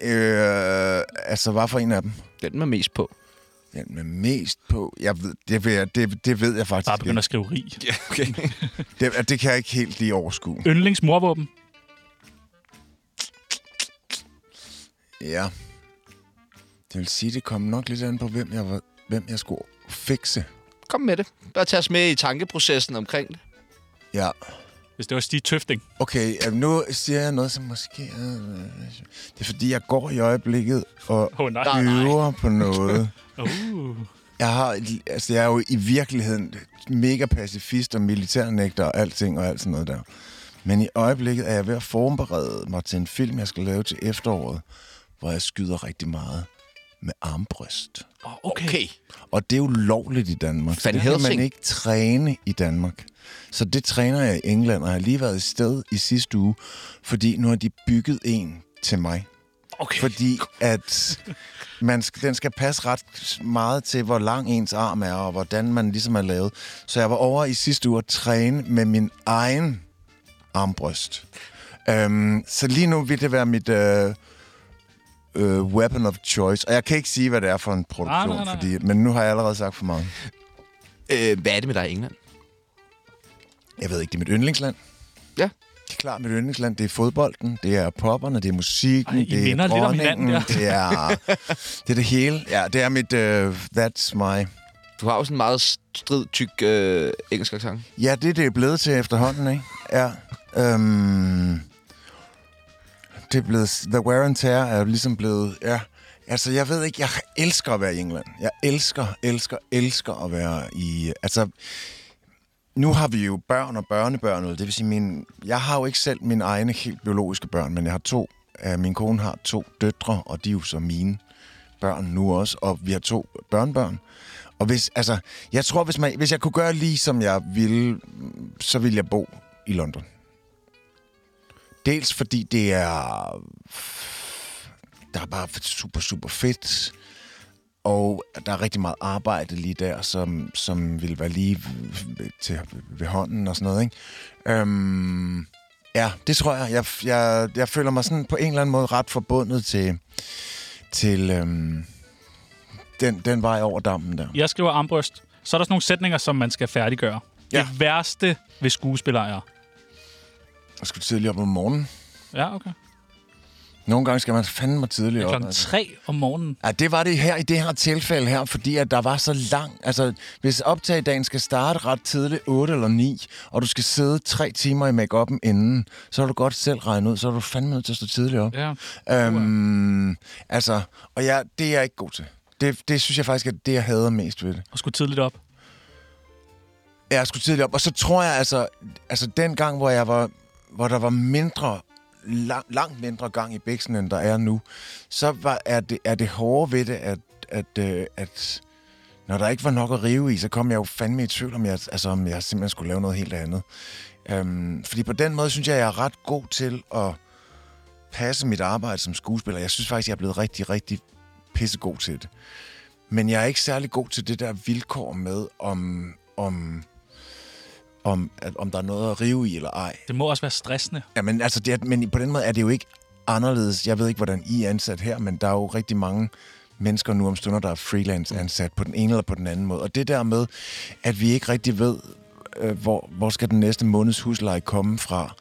[SPEAKER 1] Øh, altså, hvad for en af dem?
[SPEAKER 3] Den er mest på.
[SPEAKER 1] Den med mest på... Jeg ved, det, ved jeg, det, det ved jeg
[SPEAKER 2] Bare
[SPEAKER 1] faktisk
[SPEAKER 2] begynder
[SPEAKER 1] ikke.
[SPEAKER 2] at skrive rig.
[SPEAKER 3] Ja, okay.
[SPEAKER 1] Det, det kan jeg ikke helt lige overskue.
[SPEAKER 2] Yndlingsmorvåben.
[SPEAKER 1] Ja. Det vil sige, det kom nok lidt an på, hvem jeg, var, hvem jeg skulle fikse.
[SPEAKER 3] Kom med det. Bare tag os med i tankeprocessen omkring det.
[SPEAKER 1] Ja.
[SPEAKER 2] Hvis det var Stig Tøfting.
[SPEAKER 1] Okay, øh, nu siger jeg noget, som måske... er- Det er, fordi jeg går i øjeblikket og
[SPEAKER 2] Åh, oh, nej.
[SPEAKER 3] Nej, nej.
[SPEAKER 1] øver på noget.
[SPEAKER 2] Uh.
[SPEAKER 1] Jeg, har, altså, jeg er jo i virkeligheden mega pacifist og militærnægter og alting og alt sådan noget der. Men i øjeblikket er jeg ved at forberede mig til en film, jeg skal lave til efteråret, hvor jeg skyder rigtig meget med armbryst.
[SPEAKER 2] Oh, okay.
[SPEAKER 3] Okay.
[SPEAKER 1] Og det er jo lovligt i Danmark.
[SPEAKER 3] Van
[SPEAKER 1] det kan man
[SPEAKER 3] Helsing.
[SPEAKER 1] ikke træne i Danmark. Så det træner jeg i England, og jeg har lige været i sted i sidste uge, fordi nu har de bygget en til mig.
[SPEAKER 2] okay.
[SPEAKER 1] Fordi at man skal, den skal passe ret meget til, hvor lang ens arm er, og hvordan man ligesom er lavet. Så jeg var over i sidste uge at træne med min egen armbryst. Øhm, så lige nu vil det være mit øh, øh, weapon of choice. Og jeg kan ikke sige, hvad det er for en produktion,
[SPEAKER 2] nej, nej.
[SPEAKER 1] Fordi, men nu har jeg allerede sagt for meget.
[SPEAKER 3] Øh, hvad er det med dig i England?
[SPEAKER 1] Jeg ved ikke, det er mit yndlingsland.
[SPEAKER 3] Ja.
[SPEAKER 1] Det er klart, mit yndlingsland, det er fodbolden, det er popperne, det er musikken,
[SPEAKER 2] Ej, I
[SPEAKER 1] det
[SPEAKER 2] minder
[SPEAKER 1] er
[SPEAKER 2] lidt om
[SPEAKER 1] dronningen,
[SPEAKER 2] hinanden der.
[SPEAKER 1] det er det, er det hele. Ja, det er mit, uh, that's my...
[SPEAKER 3] Du har jo sådan en meget strid, tyk øh, engelsk accent.
[SPEAKER 1] Ja, det er det er blevet til efterhånden, ikke? Ja. Øhm, det er blevet... The wear and tear er jo ligesom blevet... Ja. Altså, jeg ved ikke, jeg elsker at være i England. Jeg elsker, elsker, elsker at være i... Altså, nu har vi jo børn og børnebørn, og det vil sige, min, jeg har jo ikke selv mine egne helt biologiske børn, men jeg har to. Øh, Min kone har to døtre, og de er jo så mine børn nu også, og vi har to børnebørn. Og hvis, altså, jeg tror, hvis, man, hvis jeg kunne gøre lige som jeg ville, mm, så ville jeg bo i London. Dels fordi det er... der er bare super, super fedt. Og der er rigtig meget arbejde lige der, som, som vil være lige ved- til, ved hånden og sådan noget, ikke? Øhm, ja, det tror jeg. Jeg, jeg. jeg føler mig sådan på en eller anden måde ret forbundet til, til øhm, den, den vej over dammen der.
[SPEAKER 2] Jeg skriver armbryst. Så er der sådan nogle sætninger, som man skal færdiggøre. Ja.
[SPEAKER 1] Ja.
[SPEAKER 2] Det værste ved skuespillere er...
[SPEAKER 1] Jeg skulle tidligere op om morgenen.
[SPEAKER 2] Ja, okay.
[SPEAKER 1] Nogle gange skal man fandme tidligere op. altså.
[SPEAKER 2] Klokken tre om morgenen.
[SPEAKER 1] Ja, det var det her i det her tilfælde her, fordi at der var så lang... Altså, hvis optagedagen skal starte ret tidligt, 8 eller 9, og du skal sidde tre timer i make-up'en inden, så har du godt selv regnet ud, så er du fandme nødt til at stå tidligt op.
[SPEAKER 2] Ja.
[SPEAKER 1] Øhm, altså, og ja, det er jeg ikke god til. Det, det synes jeg faktisk er det, jeg hader mest ved det.
[SPEAKER 2] Og skulle tidligt op.
[SPEAKER 1] Ja, jeg skulle tidligt op. Og så tror jeg, altså, altså den gang, hvor, jeg var, hvor der var mindre, lang, langt mindre gang i bæksen, end der er nu, så var, er, det, er det hårde ved det, at, at, øh, at når der ikke var nok at rive i, så kom jeg jo fandme i tvivl, om jeg, altså, om jeg simpelthen skulle lave noget helt andet. Øhm, fordi på den måde synes jeg, jeg er ret god til at passe mit arbejde som skuespiller. Jeg synes faktisk, jeg er blevet rigtig, rigtig pissegod til det. Men jeg er ikke særlig god til det der vilkår med, om, om, om, at, om der er noget at rive i eller ej.
[SPEAKER 2] Det må også være stressende.
[SPEAKER 1] Ja, men, altså, det er, men på den måde er det jo ikke anderledes. Jeg ved ikke, hvordan I er ansat her, men der er jo rigtig mange mennesker nu om stunder, der er freelance ansat på den ene eller på den anden måde. Og det der med, at vi ikke rigtig ved, øh, hvor, hvor skal den næste måneds husleje komme fra,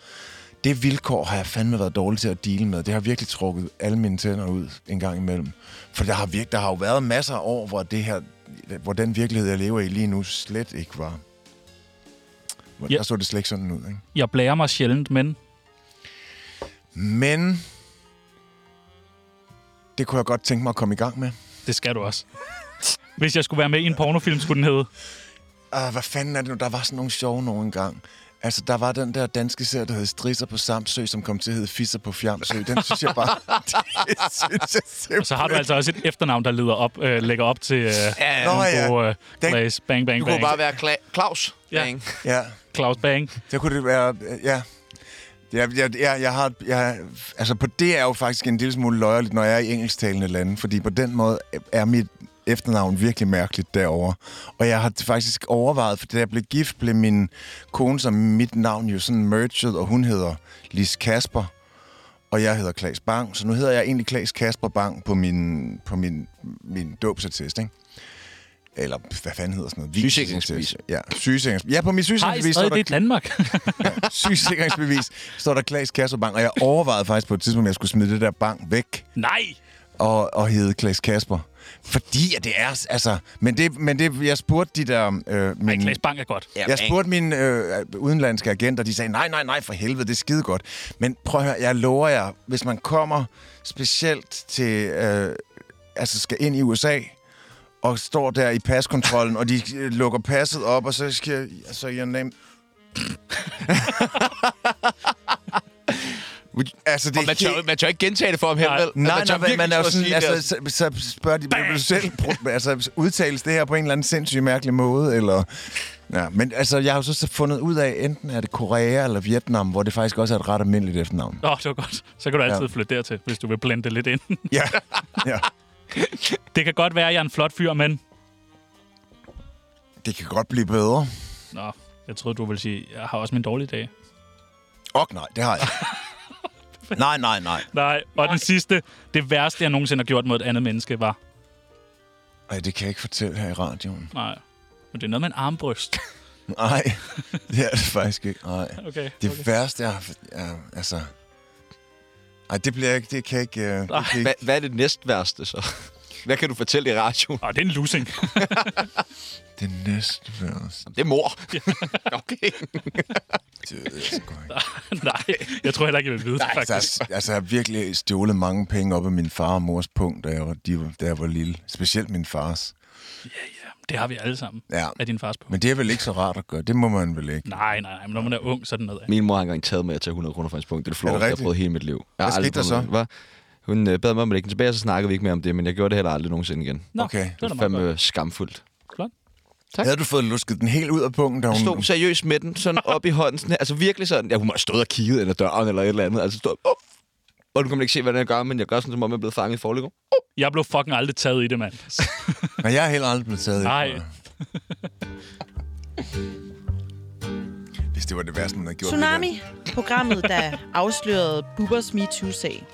[SPEAKER 1] det vilkår har jeg fandme været dårlig til at dele med. Det har virkelig trukket alle mine tænder ud en gang imellem. For der har, virk, der har jo været masser af år, hvor, det her, hvor den virkelighed, jeg lever i lige nu, slet ikke var. Hvor
[SPEAKER 2] Ja.
[SPEAKER 1] Der så det slet ikke sådan ud, ikke?
[SPEAKER 2] Jeg blærer mig sjældent, men
[SPEAKER 1] Men det kunne jeg godt tænke mig at komme i gang med.
[SPEAKER 2] det skal du også. Hvis jeg skulle være med i en pornofilm, skulle den hedde.
[SPEAKER 1] Ah, hvad fanden er det nu? Der var sådan nogle sjove nogle engang. Altså, der var den der danske serie, der hed Strisser på Samsø, som kom til at hedde Fisser på Fjamsø. Den synes jeg bare...
[SPEAKER 2] [laughs]
[SPEAKER 1] [laughs] det synes jeg
[SPEAKER 2] Og så har du
[SPEAKER 1] simpelthen-
[SPEAKER 2] altså også et efternavn, der leder op, øh, lægger op til øh, ja,
[SPEAKER 1] Nå,
[SPEAKER 2] nogle
[SPEAKER 1] ja.
[SPEAKER 2] gode øh,
[SPEAKER 1] Den-
[SPEAKER 2] plays. Bang, bang,
[SPEAKER 3] Du
[SPEAKER 2] bang.
[SPEAKER 3] kunne bare være Kla- Claus.
[SPEAKER 2] Ja.
[SPEAKER 3] Bang.
[SPEAKER 1] Ja,
[SPEAKER 2] Claus Bang.
[SPEAKER 1] det kunne det være... Ja. Jeg, jeg, jeg, jeg har, jeg, altså på det er jeg jo faktisk en lille smule løjerligt, når jeg er i engelsktalende lande, fordi på den måde er mit efternavn virkelig mærkeligt derovre. Og jeg har faktisk overvejet, for da jeg blev gift, blev min kone som mit navn jo sådan merged, og hun hedder Lis Kasper, og jeg hedder Klaas Bang, så nu hedder jeg egentlig Klaas Kasper Bang på min, på min, min dåbsattest, ikke? Eller hvad fanden hedder sådan noget?
[SPEAKER 3] Sygesikringsbevis.
[SPEAKER 1] Ja, sygesikringsbevis. Ja, på min
[SPEAKER 2] Hej,
[SPEAKER 1] sygesikringsbevis står
[SPEAKER 2] stadig
[SPEAKER 1] der
[SPEAKER 2] det i Danmark. [laughs]
[SPEAKER 1] [laughs] sygesikringsbevis, står der Klaas Kasperbank. Og jeg overvejede faktisk på et tidspunkt, at jeg skulle smide det der bank væk
[SPEAKER 2] Nej!
[SPEAKER 1] og, og hedde Klaas Kasper. Fordi at det er, altså... Men det, men det jeg spurgte de der... Øh,
[SPEAKER 2] Nej,
[SPEAKER 1] min,
[SPEAKER 2] Claes Bang er godt.
[SPEAKER 3] Ja,
[SPEAKER 1] jeg
[SPEAKER 3] bang.
[SPEAKER 1] spurgte mine øh, udenlandske agenter, de sagde, nej, nej, nej, for helvede, det er skide godt. Men prøv at høre, jeg lover jer, hvis man kommer specielt til, øh, altså skal ind i USA, og står der i paskontrollen, og de øh, lukker passet op, og så skal altså,
[SPEAKER 3] [laughs]
[SPEAKER 1] your name... altså, det
[SPEAKER 3] Og man
[SPEAKER 1] helt-
[SPEAKER 3] tør, man tør ikke gentage det for ham her,
[SPEAKER 2] Nej.
[SPEAKER 3] vel?
[SPEAKER 1] Nej,
[SPEAKER 3] man tør
[SPEAKER 1] nej, men
[SPEAKER 3] virkelig
[SPEAKER 1] man er jo
[SPEAKER 3] ikke at
[SPEAKER 1] sådan,
[SPEAKER 3] sige det.
[SPEAKER 1] altså, så, så spørger de, vil du selv pro- altså, udtales det her på en eller anden sindssyg mærkelig måde, eller... Ja, men altså, jeg har jo så fundet ud af, enten er det Korea eller Vietnam, hvor det faktisk også er et ret almindeligt efternavn.
[SPEAKER 2] Åh, oh, det var godt. Så kan du altid ja. flytte dertil, hvis du vil blende det lidt ind.
[SPEAKER 1] Ja, ja.
[SPEAKER 2] det kan godt være, at jeg er en flot fyr, men...
[SPEAKER 1] Det kan godt blive bedre.
[SPEAKER 2] Nå, jeg troede, du ville sige, jeg har også min dårlige dag.
[SPEAKER 1] Og nej, det har jeg. Nej, nej, nej.
[SPEAKER 2] Nej, og den sidste, det værste, jeg nogensinde har gjort mod et andet menneske, var...
[SPEAKER 1] Ej, det kan jeg ikke fortælle her i radioen.
[SPEAKER 2] Nej, men det er noget med en armbryst.
[SPEAKER 1] Nej, det er det faktisk ikke. Nej.
[SPEAKER 2] Okay,
[SPEAKER 1] Det
[SPEAKER 2] okay.
[SPEAKER 1] værste, jeg har... Ja, altså... Ej, det bliver jeg ikke... Det kan jeg ikke... øh, Det kan jeg ikke.
[SPEAKER 3] Hva, hvad er det næst værste, så? Hvad kan du fortælle i radioen?
[SPEAKER 2] Åh, det er en losing. [laughs]
[SPEAKER 1] Det næste værste...
[SPEAKER 3] Det er mor. [laughs] okay.
[SPEAKER 1] Det ved jeg sgu
[SPEAKER 2] [laughs]
[SPEAKER 1] ikke.
[SPEAKER 2] Nej, jeg tror heller ikke, jeg vil vide det,
[SPEAKER 1] Altså,
[SPEAKER 2] faktisk.
[SPEAKER 1] altså, altså, jeg har virkelig stjålet mange penge op af min far og mors punkt, da jeg var, de, var- da jeg var lille. Specielt min fars.
[SPEAKER 2] Det har vi alle sammen.
[SPEAKER 1] Ja.
[SPEAKER 2] Af din fars på.
[SPEAKER 1] Men det er vel ikke så rart at gøre. Det må man vel ikke.
[SPEAKER 2] Nej, nej, nej, men når man er ung, så er det noget af.
[SPEAKER 3] Min mor har engang taget mig at tage 100 kroner fra hendes punkt. Det er det
[SPEAKER 1] Er det
[SPEAKER 3] flot, jeg har
[SPEAKER 1] rigtigt?
[SPEAKER 3] prøvet hele mit liv. Jeg har
[SPEAKER 1] Hvad
[SPEAKER 3] aldrig
[SPEAKER 1] skete der
[SPEAKER 3] prøvet
[SPEAKER 1] så?
[SPEAKER 3] noget. Hvad? Hun øh, bad mig om at lægge den tilbage, og så snakkede vi ikke mere om det, men jeg gjorde det heller aldrig nogensinde igen.
[SPEAKER 2] Nå,
[SPEAKER 1] Okay.
[SPEAKER 2] det var
[SPEAKER 3] Det
[SPEAKER 2] da
[SPEAKER 3] er
[SPEAKER 2] meget godt.
[SPEAKER 3] fandme skamfuldt.
[SPEAKER 2] Flot.
[SPEAKER 3] Tak.
[SPEAKER 1] Havde du fået lusket den helt ud af punkten, da hun...
[SPEAKER 3] Jeg stod seriøst [laughs] med den, sådan op i hånden. Sådan her. Altså virkelig sådan. Ja, hun må have stået og kigget ind ad døren eller et eller andet. Altså stod, Uff. Og du kan man ikke se, hvordan jeg gør, men jeg gør sådan, som om jeg er blevet fanget i forlægger.
[SPEAKER 2] Jeg blev fucking aldrig taget i det, mand.
[SPEAKER 1] Men jeg er heller aldrig blevet taget i
[SPEAKER 2] Nej.
[SPEAKER 1] det. Hvis det var det værste, man havde gjort. det
[SPEAKER 8] Tsunami, programmet, der afslørede Bubbers MeToo-sag.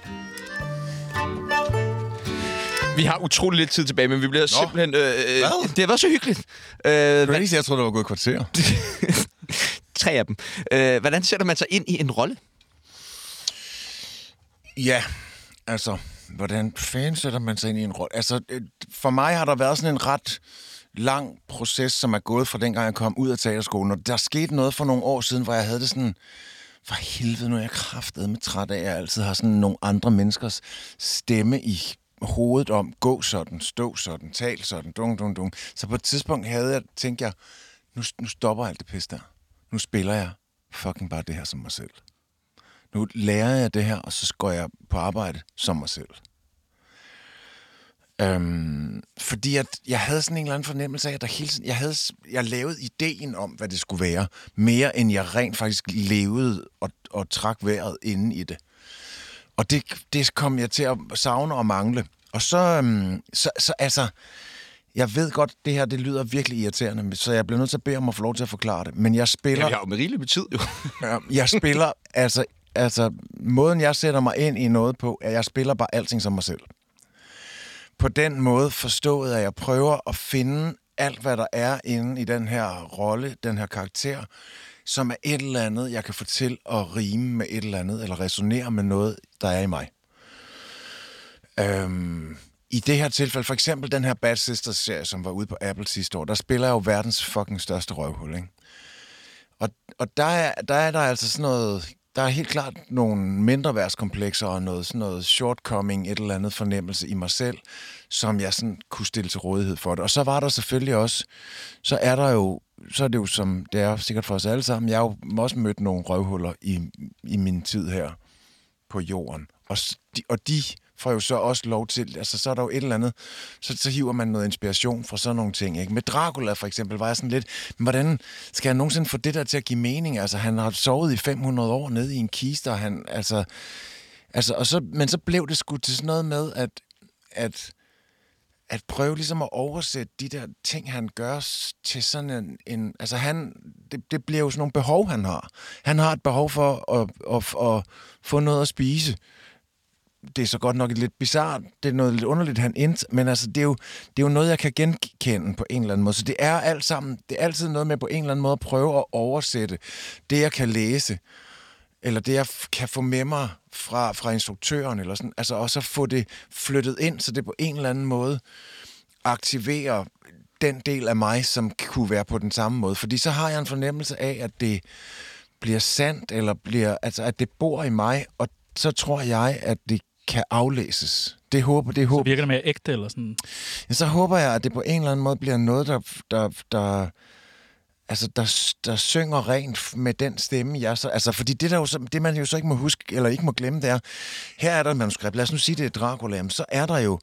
[SPEAKER 3] Vi har utrolig lidt tid tilbage, men vi bliver Nå. simpelthen... Øh,
[SPEAKER 1] Hvad?
[SPEAKER 3] det har været så hyggeligt. Øh, hvad,
[SPEAKER 1] der. Det var ikke, jeg troede, det var gået et kvarter.
[SPEAKER 3] tre af dem. Øh, hvordan sætter man sig ind i en rolle?
[SPEAKER 1] Ja, altså, hvordan fanden sætter man sig ind i en rolle? Altså, øh, for mig har der været sådan en ret lang proces, som er gået fra dengang, jeg kom ud af teaterskolen. Og der skete noget for nogle år siden, hvor jeg havde det sådan... For helvede, nu er jeg kraftet med træt af, at jeg altid har sådan nogle andre menneskers stemme i hovedet om, gå sådan, stå sådan, tal sådan, dung, dung, dung. Så på et tidspunkt havde jeg, tænkte jeg, nu, nu stopper alt det pis der. Nu spiller jeg fucking bare det her som mig selv nu lærer jeg det her, og så går jeg på arbejde som mig selv. Øhm, fordi at jeg havde sådan en eller anden fornemmelse af, at der hele tiden, jeg, havde, s- jeg lavede ideen om, hvad det skulle være, mere end jeg rent faktisk levede og, og trak vejret inde i det. Og det, det kom jeg til at savne og mangle. Og så, øhm, så, så altså, jeg ved godt, det her det lyder virkelig irriterende, men- så jeg bliver nødt til at bede om at få lov til at forklare det. Men jeg spiller...
[SPEAKER 3] Jamen, jeg har jo med rigelig med tid, jo.
[SPEAKER 1] Ja, jeg spiller, altså, altså, måden jeg sætter mig ind i noget på, er, at jeg spiller bare alting som mig selv. På den måde forstået, at jeg prøver at finde alt, hvad der er inde i den her rolle, den her karakter, som er et eller andet, jeg kan få til at rime med et eller andet, eller resonere med noget, der er i mig. Øhm, I det her tilfælde, for eksempel den her Bad Sisters-serie, som var ude på Apple sidste år, der spiller jeg jo verdens fucking største røvhul, ikke? Og, og der, er, der er der altså sådan noget... Der er helt klart nogle mindreværdskomplekser og noget, sådan noget shortcoming, et eller andet fornemmelse i mig selv, som jeg sådan kunne stille til rådighed for det. Og så var der selvfølgelig også... Så er der jo... Så er det jo, som det er sikkert for os alle sammen, jeg har jo også mødt nogle røvhuller i, i min tid her på jorden. Og, s- de, og de får jo så også lov til, altså så er der jo et eller andet, så, så hiver man noget inspiration fra sådan nogle ting. Ikke? Med Dracula for eksempel var jeg sådan lidt, men hvordan skal jeg nogensinde få det der til at give mening? Altså han har sovet i 500 år nede i en kiste, og han, altså, altså og så, men så blev det sgu til sådan noget med, at, at at prøve ligesom at oversætte de der ting, han gør s- til sådan en... en altså han, det, det bliver jo sådan nogle behov, han har. Han har et behov for at, at, at, at få noget at spise. Det er så godt nok lidt bizart, det er noget lidt underligt, han ind, men altså, det er, jo, det er jo noget, jeg kan genkende på en eller anden måde. Så det er alt sammen, det er altid noget med på en eller anden måde at prøve at oversætte det, jeg kan læse eller det, jeg f- kan få med mig fra, fra instruktøren, eller sådan, altså også at få det flyttet ind, så det på en eller anden måde aktiverer den del af mig, som kunne være på den samme måde. Fordi så har jeg en fornemmelse af, at det bliver sandt, eller bliver, altså, at det bor i mig, og så tror jeg, at det kan aflæses. Det håber, det håber.
[SPEAKER 2] Virker det mere ægte eller sådan?
[SPEAKER 1] Ja, så håber jeg, at det på en eller anden måde bliver noget, der, der, der, altså, der, der synger rent med den stemme, jeg så... Altså, fordi det, der jo så, det, man jo så ikke må huske, eller ikke må glemme, det er, her er der et manuskript. Lad os nu sige, det er Dracula, jamen, så er der jo...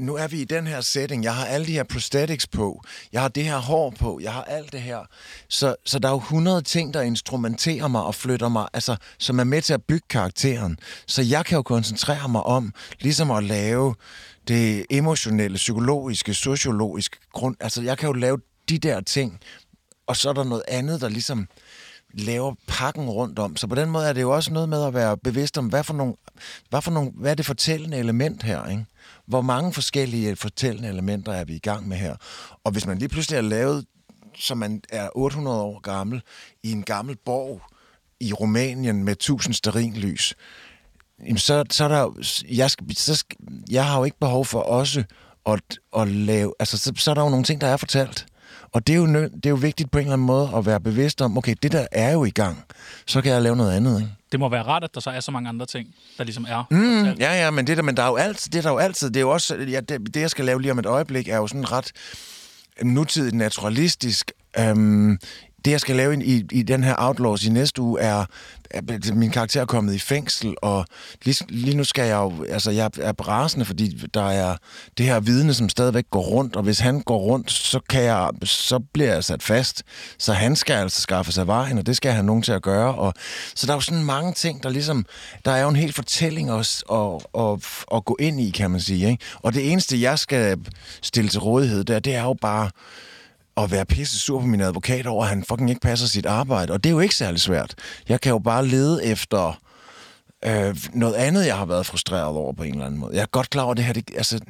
[SPEAKER 1] Nu er vi i den her setting. Jeg har alle de her prosthetics på. Jeg har det her hår på. Jeg har alt det her. Så, så der er jo 100 ting, der instrumenterer mig og flytter mig, altså, som er med til at bygge karakteren. Så jeg kan jo koncentrere mig om ligesom at lave det emotionelle, psykologiske, sociologiske grund. Altså, jeg kan jo lave de der ting, og så er der noget andet, der ligesom laver pakken rundt om. Så på den måde er det jo også noget med at være bevidst om, hvad, for nogle, hvad, for nogle, hvad er det fortællende element her, ikke? Hvor mange forskellige fortællende elementer er vi i gang med her? Og hvis man lige pludselig har lavet, så man er 800 år gammel, i en gammel borg i Rumænien med 1000 sterinlys, jamen så, så er der jo- jeg, skal, så skal, jeg har jo ikke behov for også at, at lave, altså så, så er der jo nogle ting, der er fortalt. Og det er, jo, nø- det er jo vigtigt på en eller anden måde at være bevidst om, okay, det der er jo i gang, så kan jeg lave noget andet, ikke?
[SPEAKER 2] Det må være rart, at der så er så mange andre ting, der ligesom er. Mm, ja.
[SPEAKER 1] Ja, ja, men det der, men der er jo altid, det er der jo altid, det er jo også, ja, det, det jeg skal lave lige om et øjeblik, er jo sådan ret nutidigt naturalistisk, øhm, det, jeg skal lave i, i, i den her Outlaws i næste uge, er, at min karakter er kommet i fængsel, og lige, lige nu skal jeg jo, altså jeg er brasende, fordi der er det her vidne, som stadigvæk går rundt, og hvis han går rundt, så, kan jeg, så bliver jeg sat fast, så han skal altså skaffe sig vejen, og det skal jeg have nogen til at gøre, og så der er jo sådan mange ting, der ligesom, der er jo en hel fortælling også at, at, at, at gå ind i, kan man sige, ikke? og det eneste, jeg skal stille til rådighed der, det er jo bare, at være pisse sur på min advokat over, at han fucking ikke passer sit arbejde. Og det er jo ikke særlig svært. Jeg kan jo bare lede efter øh, noget andet, jeg har været frustreret over på en eller anden måde. Jeg er godt klar over at det her. Det, altså,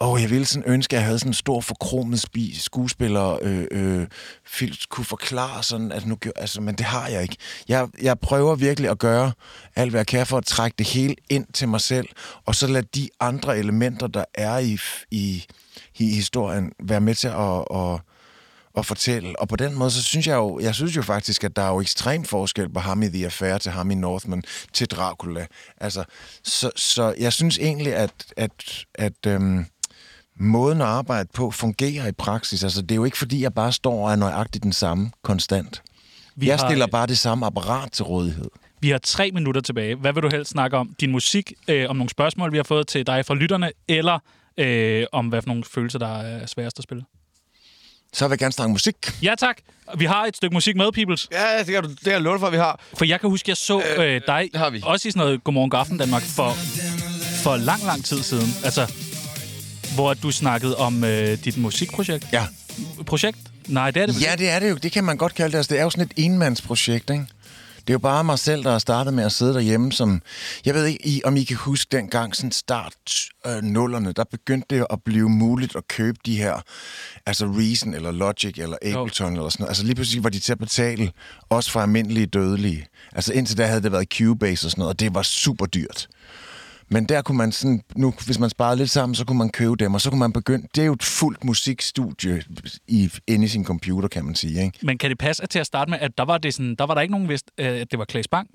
[SPEAKER 1] åh, jeg ville sådan ønske, at jeg havde sådan en stor forkromet spi, skuespiller, øh, øh, film, kunne forklare sådan, at nu gjorde, altså, men det har jeg ikke. Jeg, jeg prøver virkelig at gøre alt, hvad jeg kan for at trække det hele ind til mig selv, og så lade de andre elementer, der er i, i, i historien, være med til at, at at fortælle. Og på den måde, så synes jeg jo, jeg synes jo faktisk, at der er jo ekstrem forskel på ham i The Affair til ham i Northman til Dracula. Altså, så, så jeg synes egentlig, at, at, at øhm, måden at arbejde på fungerer i praksis. Altså, det er jo ikke fordi, jeg bare står og er nøjagtigt den samme konstant.
[SPEAKER 2] Vi
[SPEAKER 1] Vi jeg
[SPEAKER 2] har-
[SPEAKER 1] stiller bare det samme apparat til rådighed.
[SPEAKER 2] Vi har tre minutter tilbage. Hvad vil du helst snakke om? Din musik, øh, om nogle spørgsmål, vi har fået til dig fra lytterne, eller øh, om hvad for nogle følelser, der er sværest at spille?
[SPEAKER 1] Så vil jeg gerne snakke musik.
[SPEAKER 2] Ja tak. Vi har et stykke musik med, Peoples.
[SPEAKER 3] [laughs] Ja, det kan du det kan jeg love dig for, at vi har.
[SPEAKER 2] For jeg kan huske, jeg så øh, dig
[SPEAKER 3] det har vi.
[SPEAKER 2] også i sådan noget Godmorgen Gaffen Danmark for, for lang, lang tid siden. Altså, hvor du snakkede om øh, dit musikprojekt.
[SPEAKER 1] Ja.
[SPEAKER 2] Projekt? Nej, det er det vel
[SPEAKER 1] ja, det er det jo. Det kan man godt kalde det. Altså, det er jo sådan et enmandsprojekt, ikke? Det er jo bare mig selv, der har startet med at sidde derhjemme som... Jeg ved ikke, I, om I kan huske dengang, sådan start øh, nullerne, der begyndte det at blive muligt at købe de her... Altså Reason, eller Logic, eller Ableton, eller sådan noget. Altså lige pludselig var de til at betale, også for almindelige dødelige. Altså indtil da havde det været Cubase og sådan noget, og det var super dyrt. Men der kunne man sådan, nu, hvis man sparede lidt sammen, så kunne man købe dem, og så kunne man begynde... Det er jo et fuldt musikstudie i, inde i sin computer, kan man sige, ikke?
[SPEAKER 2] Men kan det passe at til at starte med, at der var, det sådan, der, var der ikke nogen vidst, øh, at det var Klaas Bang?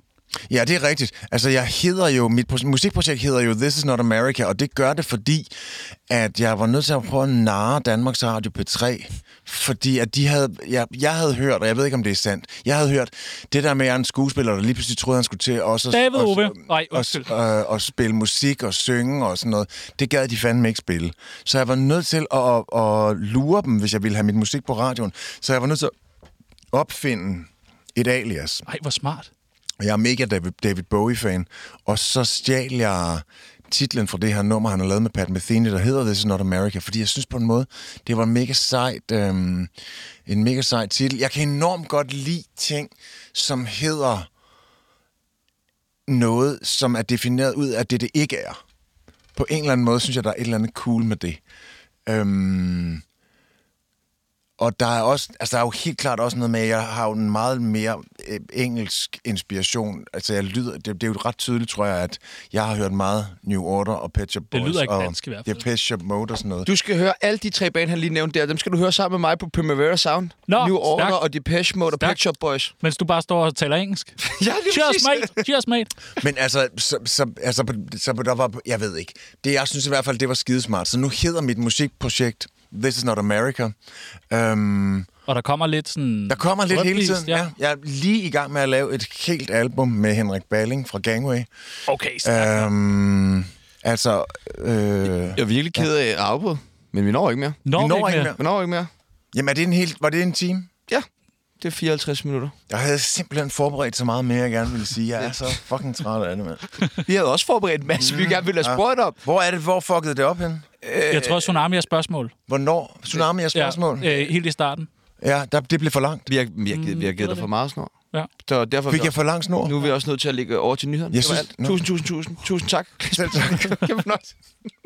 [SPEAKER 1] Ja, det er rigtigt. Altså, jeg hedder jo, mit pro- musikprojekt hedder jo This is not America, og det gør det, fordi at jeg var nødt til at prøve at narre Danmarks Radio P3, fordi at de havde, jeg, jeg havde hørt, og jeg ved ikke, om det er sandt, jeg havde hørt det der med, at jeg er en skuespiller, der lige pludselig troede, han skulle til også at-
[SPEAKER 2] David
[SPEAKER 1] også-
[SPEAKER 2] Ove. Nej,
[SPEAKER 1] og,
[SPEAKER 2] undskyld.
[SPEAKER 1] øh, og spille musik og synge og sådan noget. Det gad de fandme ikke spille. Så jeg var nødt til at, at, at lure dem, hvis jeg ville have mit musik på radioen. Så jeg var nødt til at opfinde et alias.
[SPEAKER 2] Nej, hvor smart.
[SPEAKER 1] Og Jeg er mega David, David Bowie-fan. Og så stjal jeg titlen fra det her nummer, han har lavet med Pat Metheny, der hedder This is Not America, fordi jeg synes på en måde, det var en mega sejt, øhm, en mega sejt titel. Jeg kan enormt godt lide ting, som hedder noget, som er defineret ud af det, det ikke er. På en eller anden måde synes jeg, der er et eller andet cool med det. Øhm, og der er, også, altså der er jo helt klart også noget med, at jeg har jo en meget mere øh, engelsk inspiration. Altså jeg lyder, det, det er jo ret tydeligt, tror jeg, at jeg har hørt meget New Order og Pet Shop
[SPEAKER 2] Det
[SPEAKER 1] Boys.
[SPEAKER 2] lyder ikke
[SPEAKER 1] og
[SPEAKER 2] dansk i hvert fald.
[SPEAKER 1] Depeche Shop Mode og sådan noget.
[SPEAKER 3] Du skal høre alle de tre baner, han lige nævnte der. Dem skal du høre sammen med mig på Primavera Sound.
[SPEAKER 2] Nå,
[SPEAKER 3] New Order
[SPEAKER 2] stærkt.
[SPEAKER 3] og Depeche Mode og
[SPEAKER 2] Stærkt.
[SPEAKER 3] Pet Shop Boys.
[SPEAKER 2] Mens du bare står og taler engelsk.
[SPEAKER 1] [laughs]
[SPEAKER 3] Ja, lige
[SPEAKER 2] Cheers,
[SPEAKER 3] præcis.
[SPEAKER 2] mate. Cheers, mate.
[SPEAKER 1] Men altså, så, så, altså på- så, på- der var, jeg ved ikke. Det, jeg synes i hvert fald, det var skidesmart. Så nu hedder mit musikprojekt This is Not America. Øhm,
[SPEAKER 2] Og der kommer lidt sådan...
[SPEAKER 1] der kommer lidt hele
[SPEAKER 2] Rødvist,
[SPEAKER 1] tiden. Ja. Jeg er lige i gang med at lave et helt album med Henrik Balling fra Gangway.
[SPEAKER 2] Okay,
[SPEAKER 1] Øh,
[SPEAKER 2] så
[SPEAKER 1] Øhm, altså, øh,
[SPEAKER 3] Jeg er virkelig ked af at afbryde, men vi når ikke mere.
[SPEAKER 2] når,
[SPEAKER 1] vi når
[SPEAKER 2] ikke
[SPEAKER 1] ikke
[SPEAKER 2] mere.
[SPEAKER 3] Vi når ikke mere.
[SPEAKER 1] jamen er det en helt, var det en time?
[SPEAKER 3] Ja, det er 54 minutter.
[SPEAKER 1] Jeg havde simpelthen forberedt så meget mere, jeg gerne ville sige. Jeg er så fucking træt af det, mand.
[SPEAKER 3] Vi havde også forberedt en masse, vi gerne ville have spurgt om.
[SPEAKER 1] Hvor er det, hvor fuckede det op hen?
[SPEAKER 2] Jeg tror, Tsunami er spørgsmål.
[SPEAKER 1] Hvornår? Tsunami er spørgsmål.
[SPEAKER 2] Ja, øh, helt i starten.
[SPEAKER 1] Ja, der, det blev for langt.
[SPEAKER 3] Vi har, vi har, givet, vi har givet dig for meget snor.
[SPEAKER 2] Ja.
[SPEAKER 3] Så derfor er vi
[SPEAKER 1] Fik jeg for lang snor?
[SPEAKER 3] Nu er vi også nødt til at ligge over til nyhederne.
[SPEAKER 1] Jeg
[SPEAKER 3] Det var
[SPEAKER 1] synes-
[SPEAKER 3] [laughs] alt. Tusind, tusind, tusind. Tusind tak.
[SPEAKER 1] Selv tak.
[SPEAKER 3] Kæmpe fornøjelse.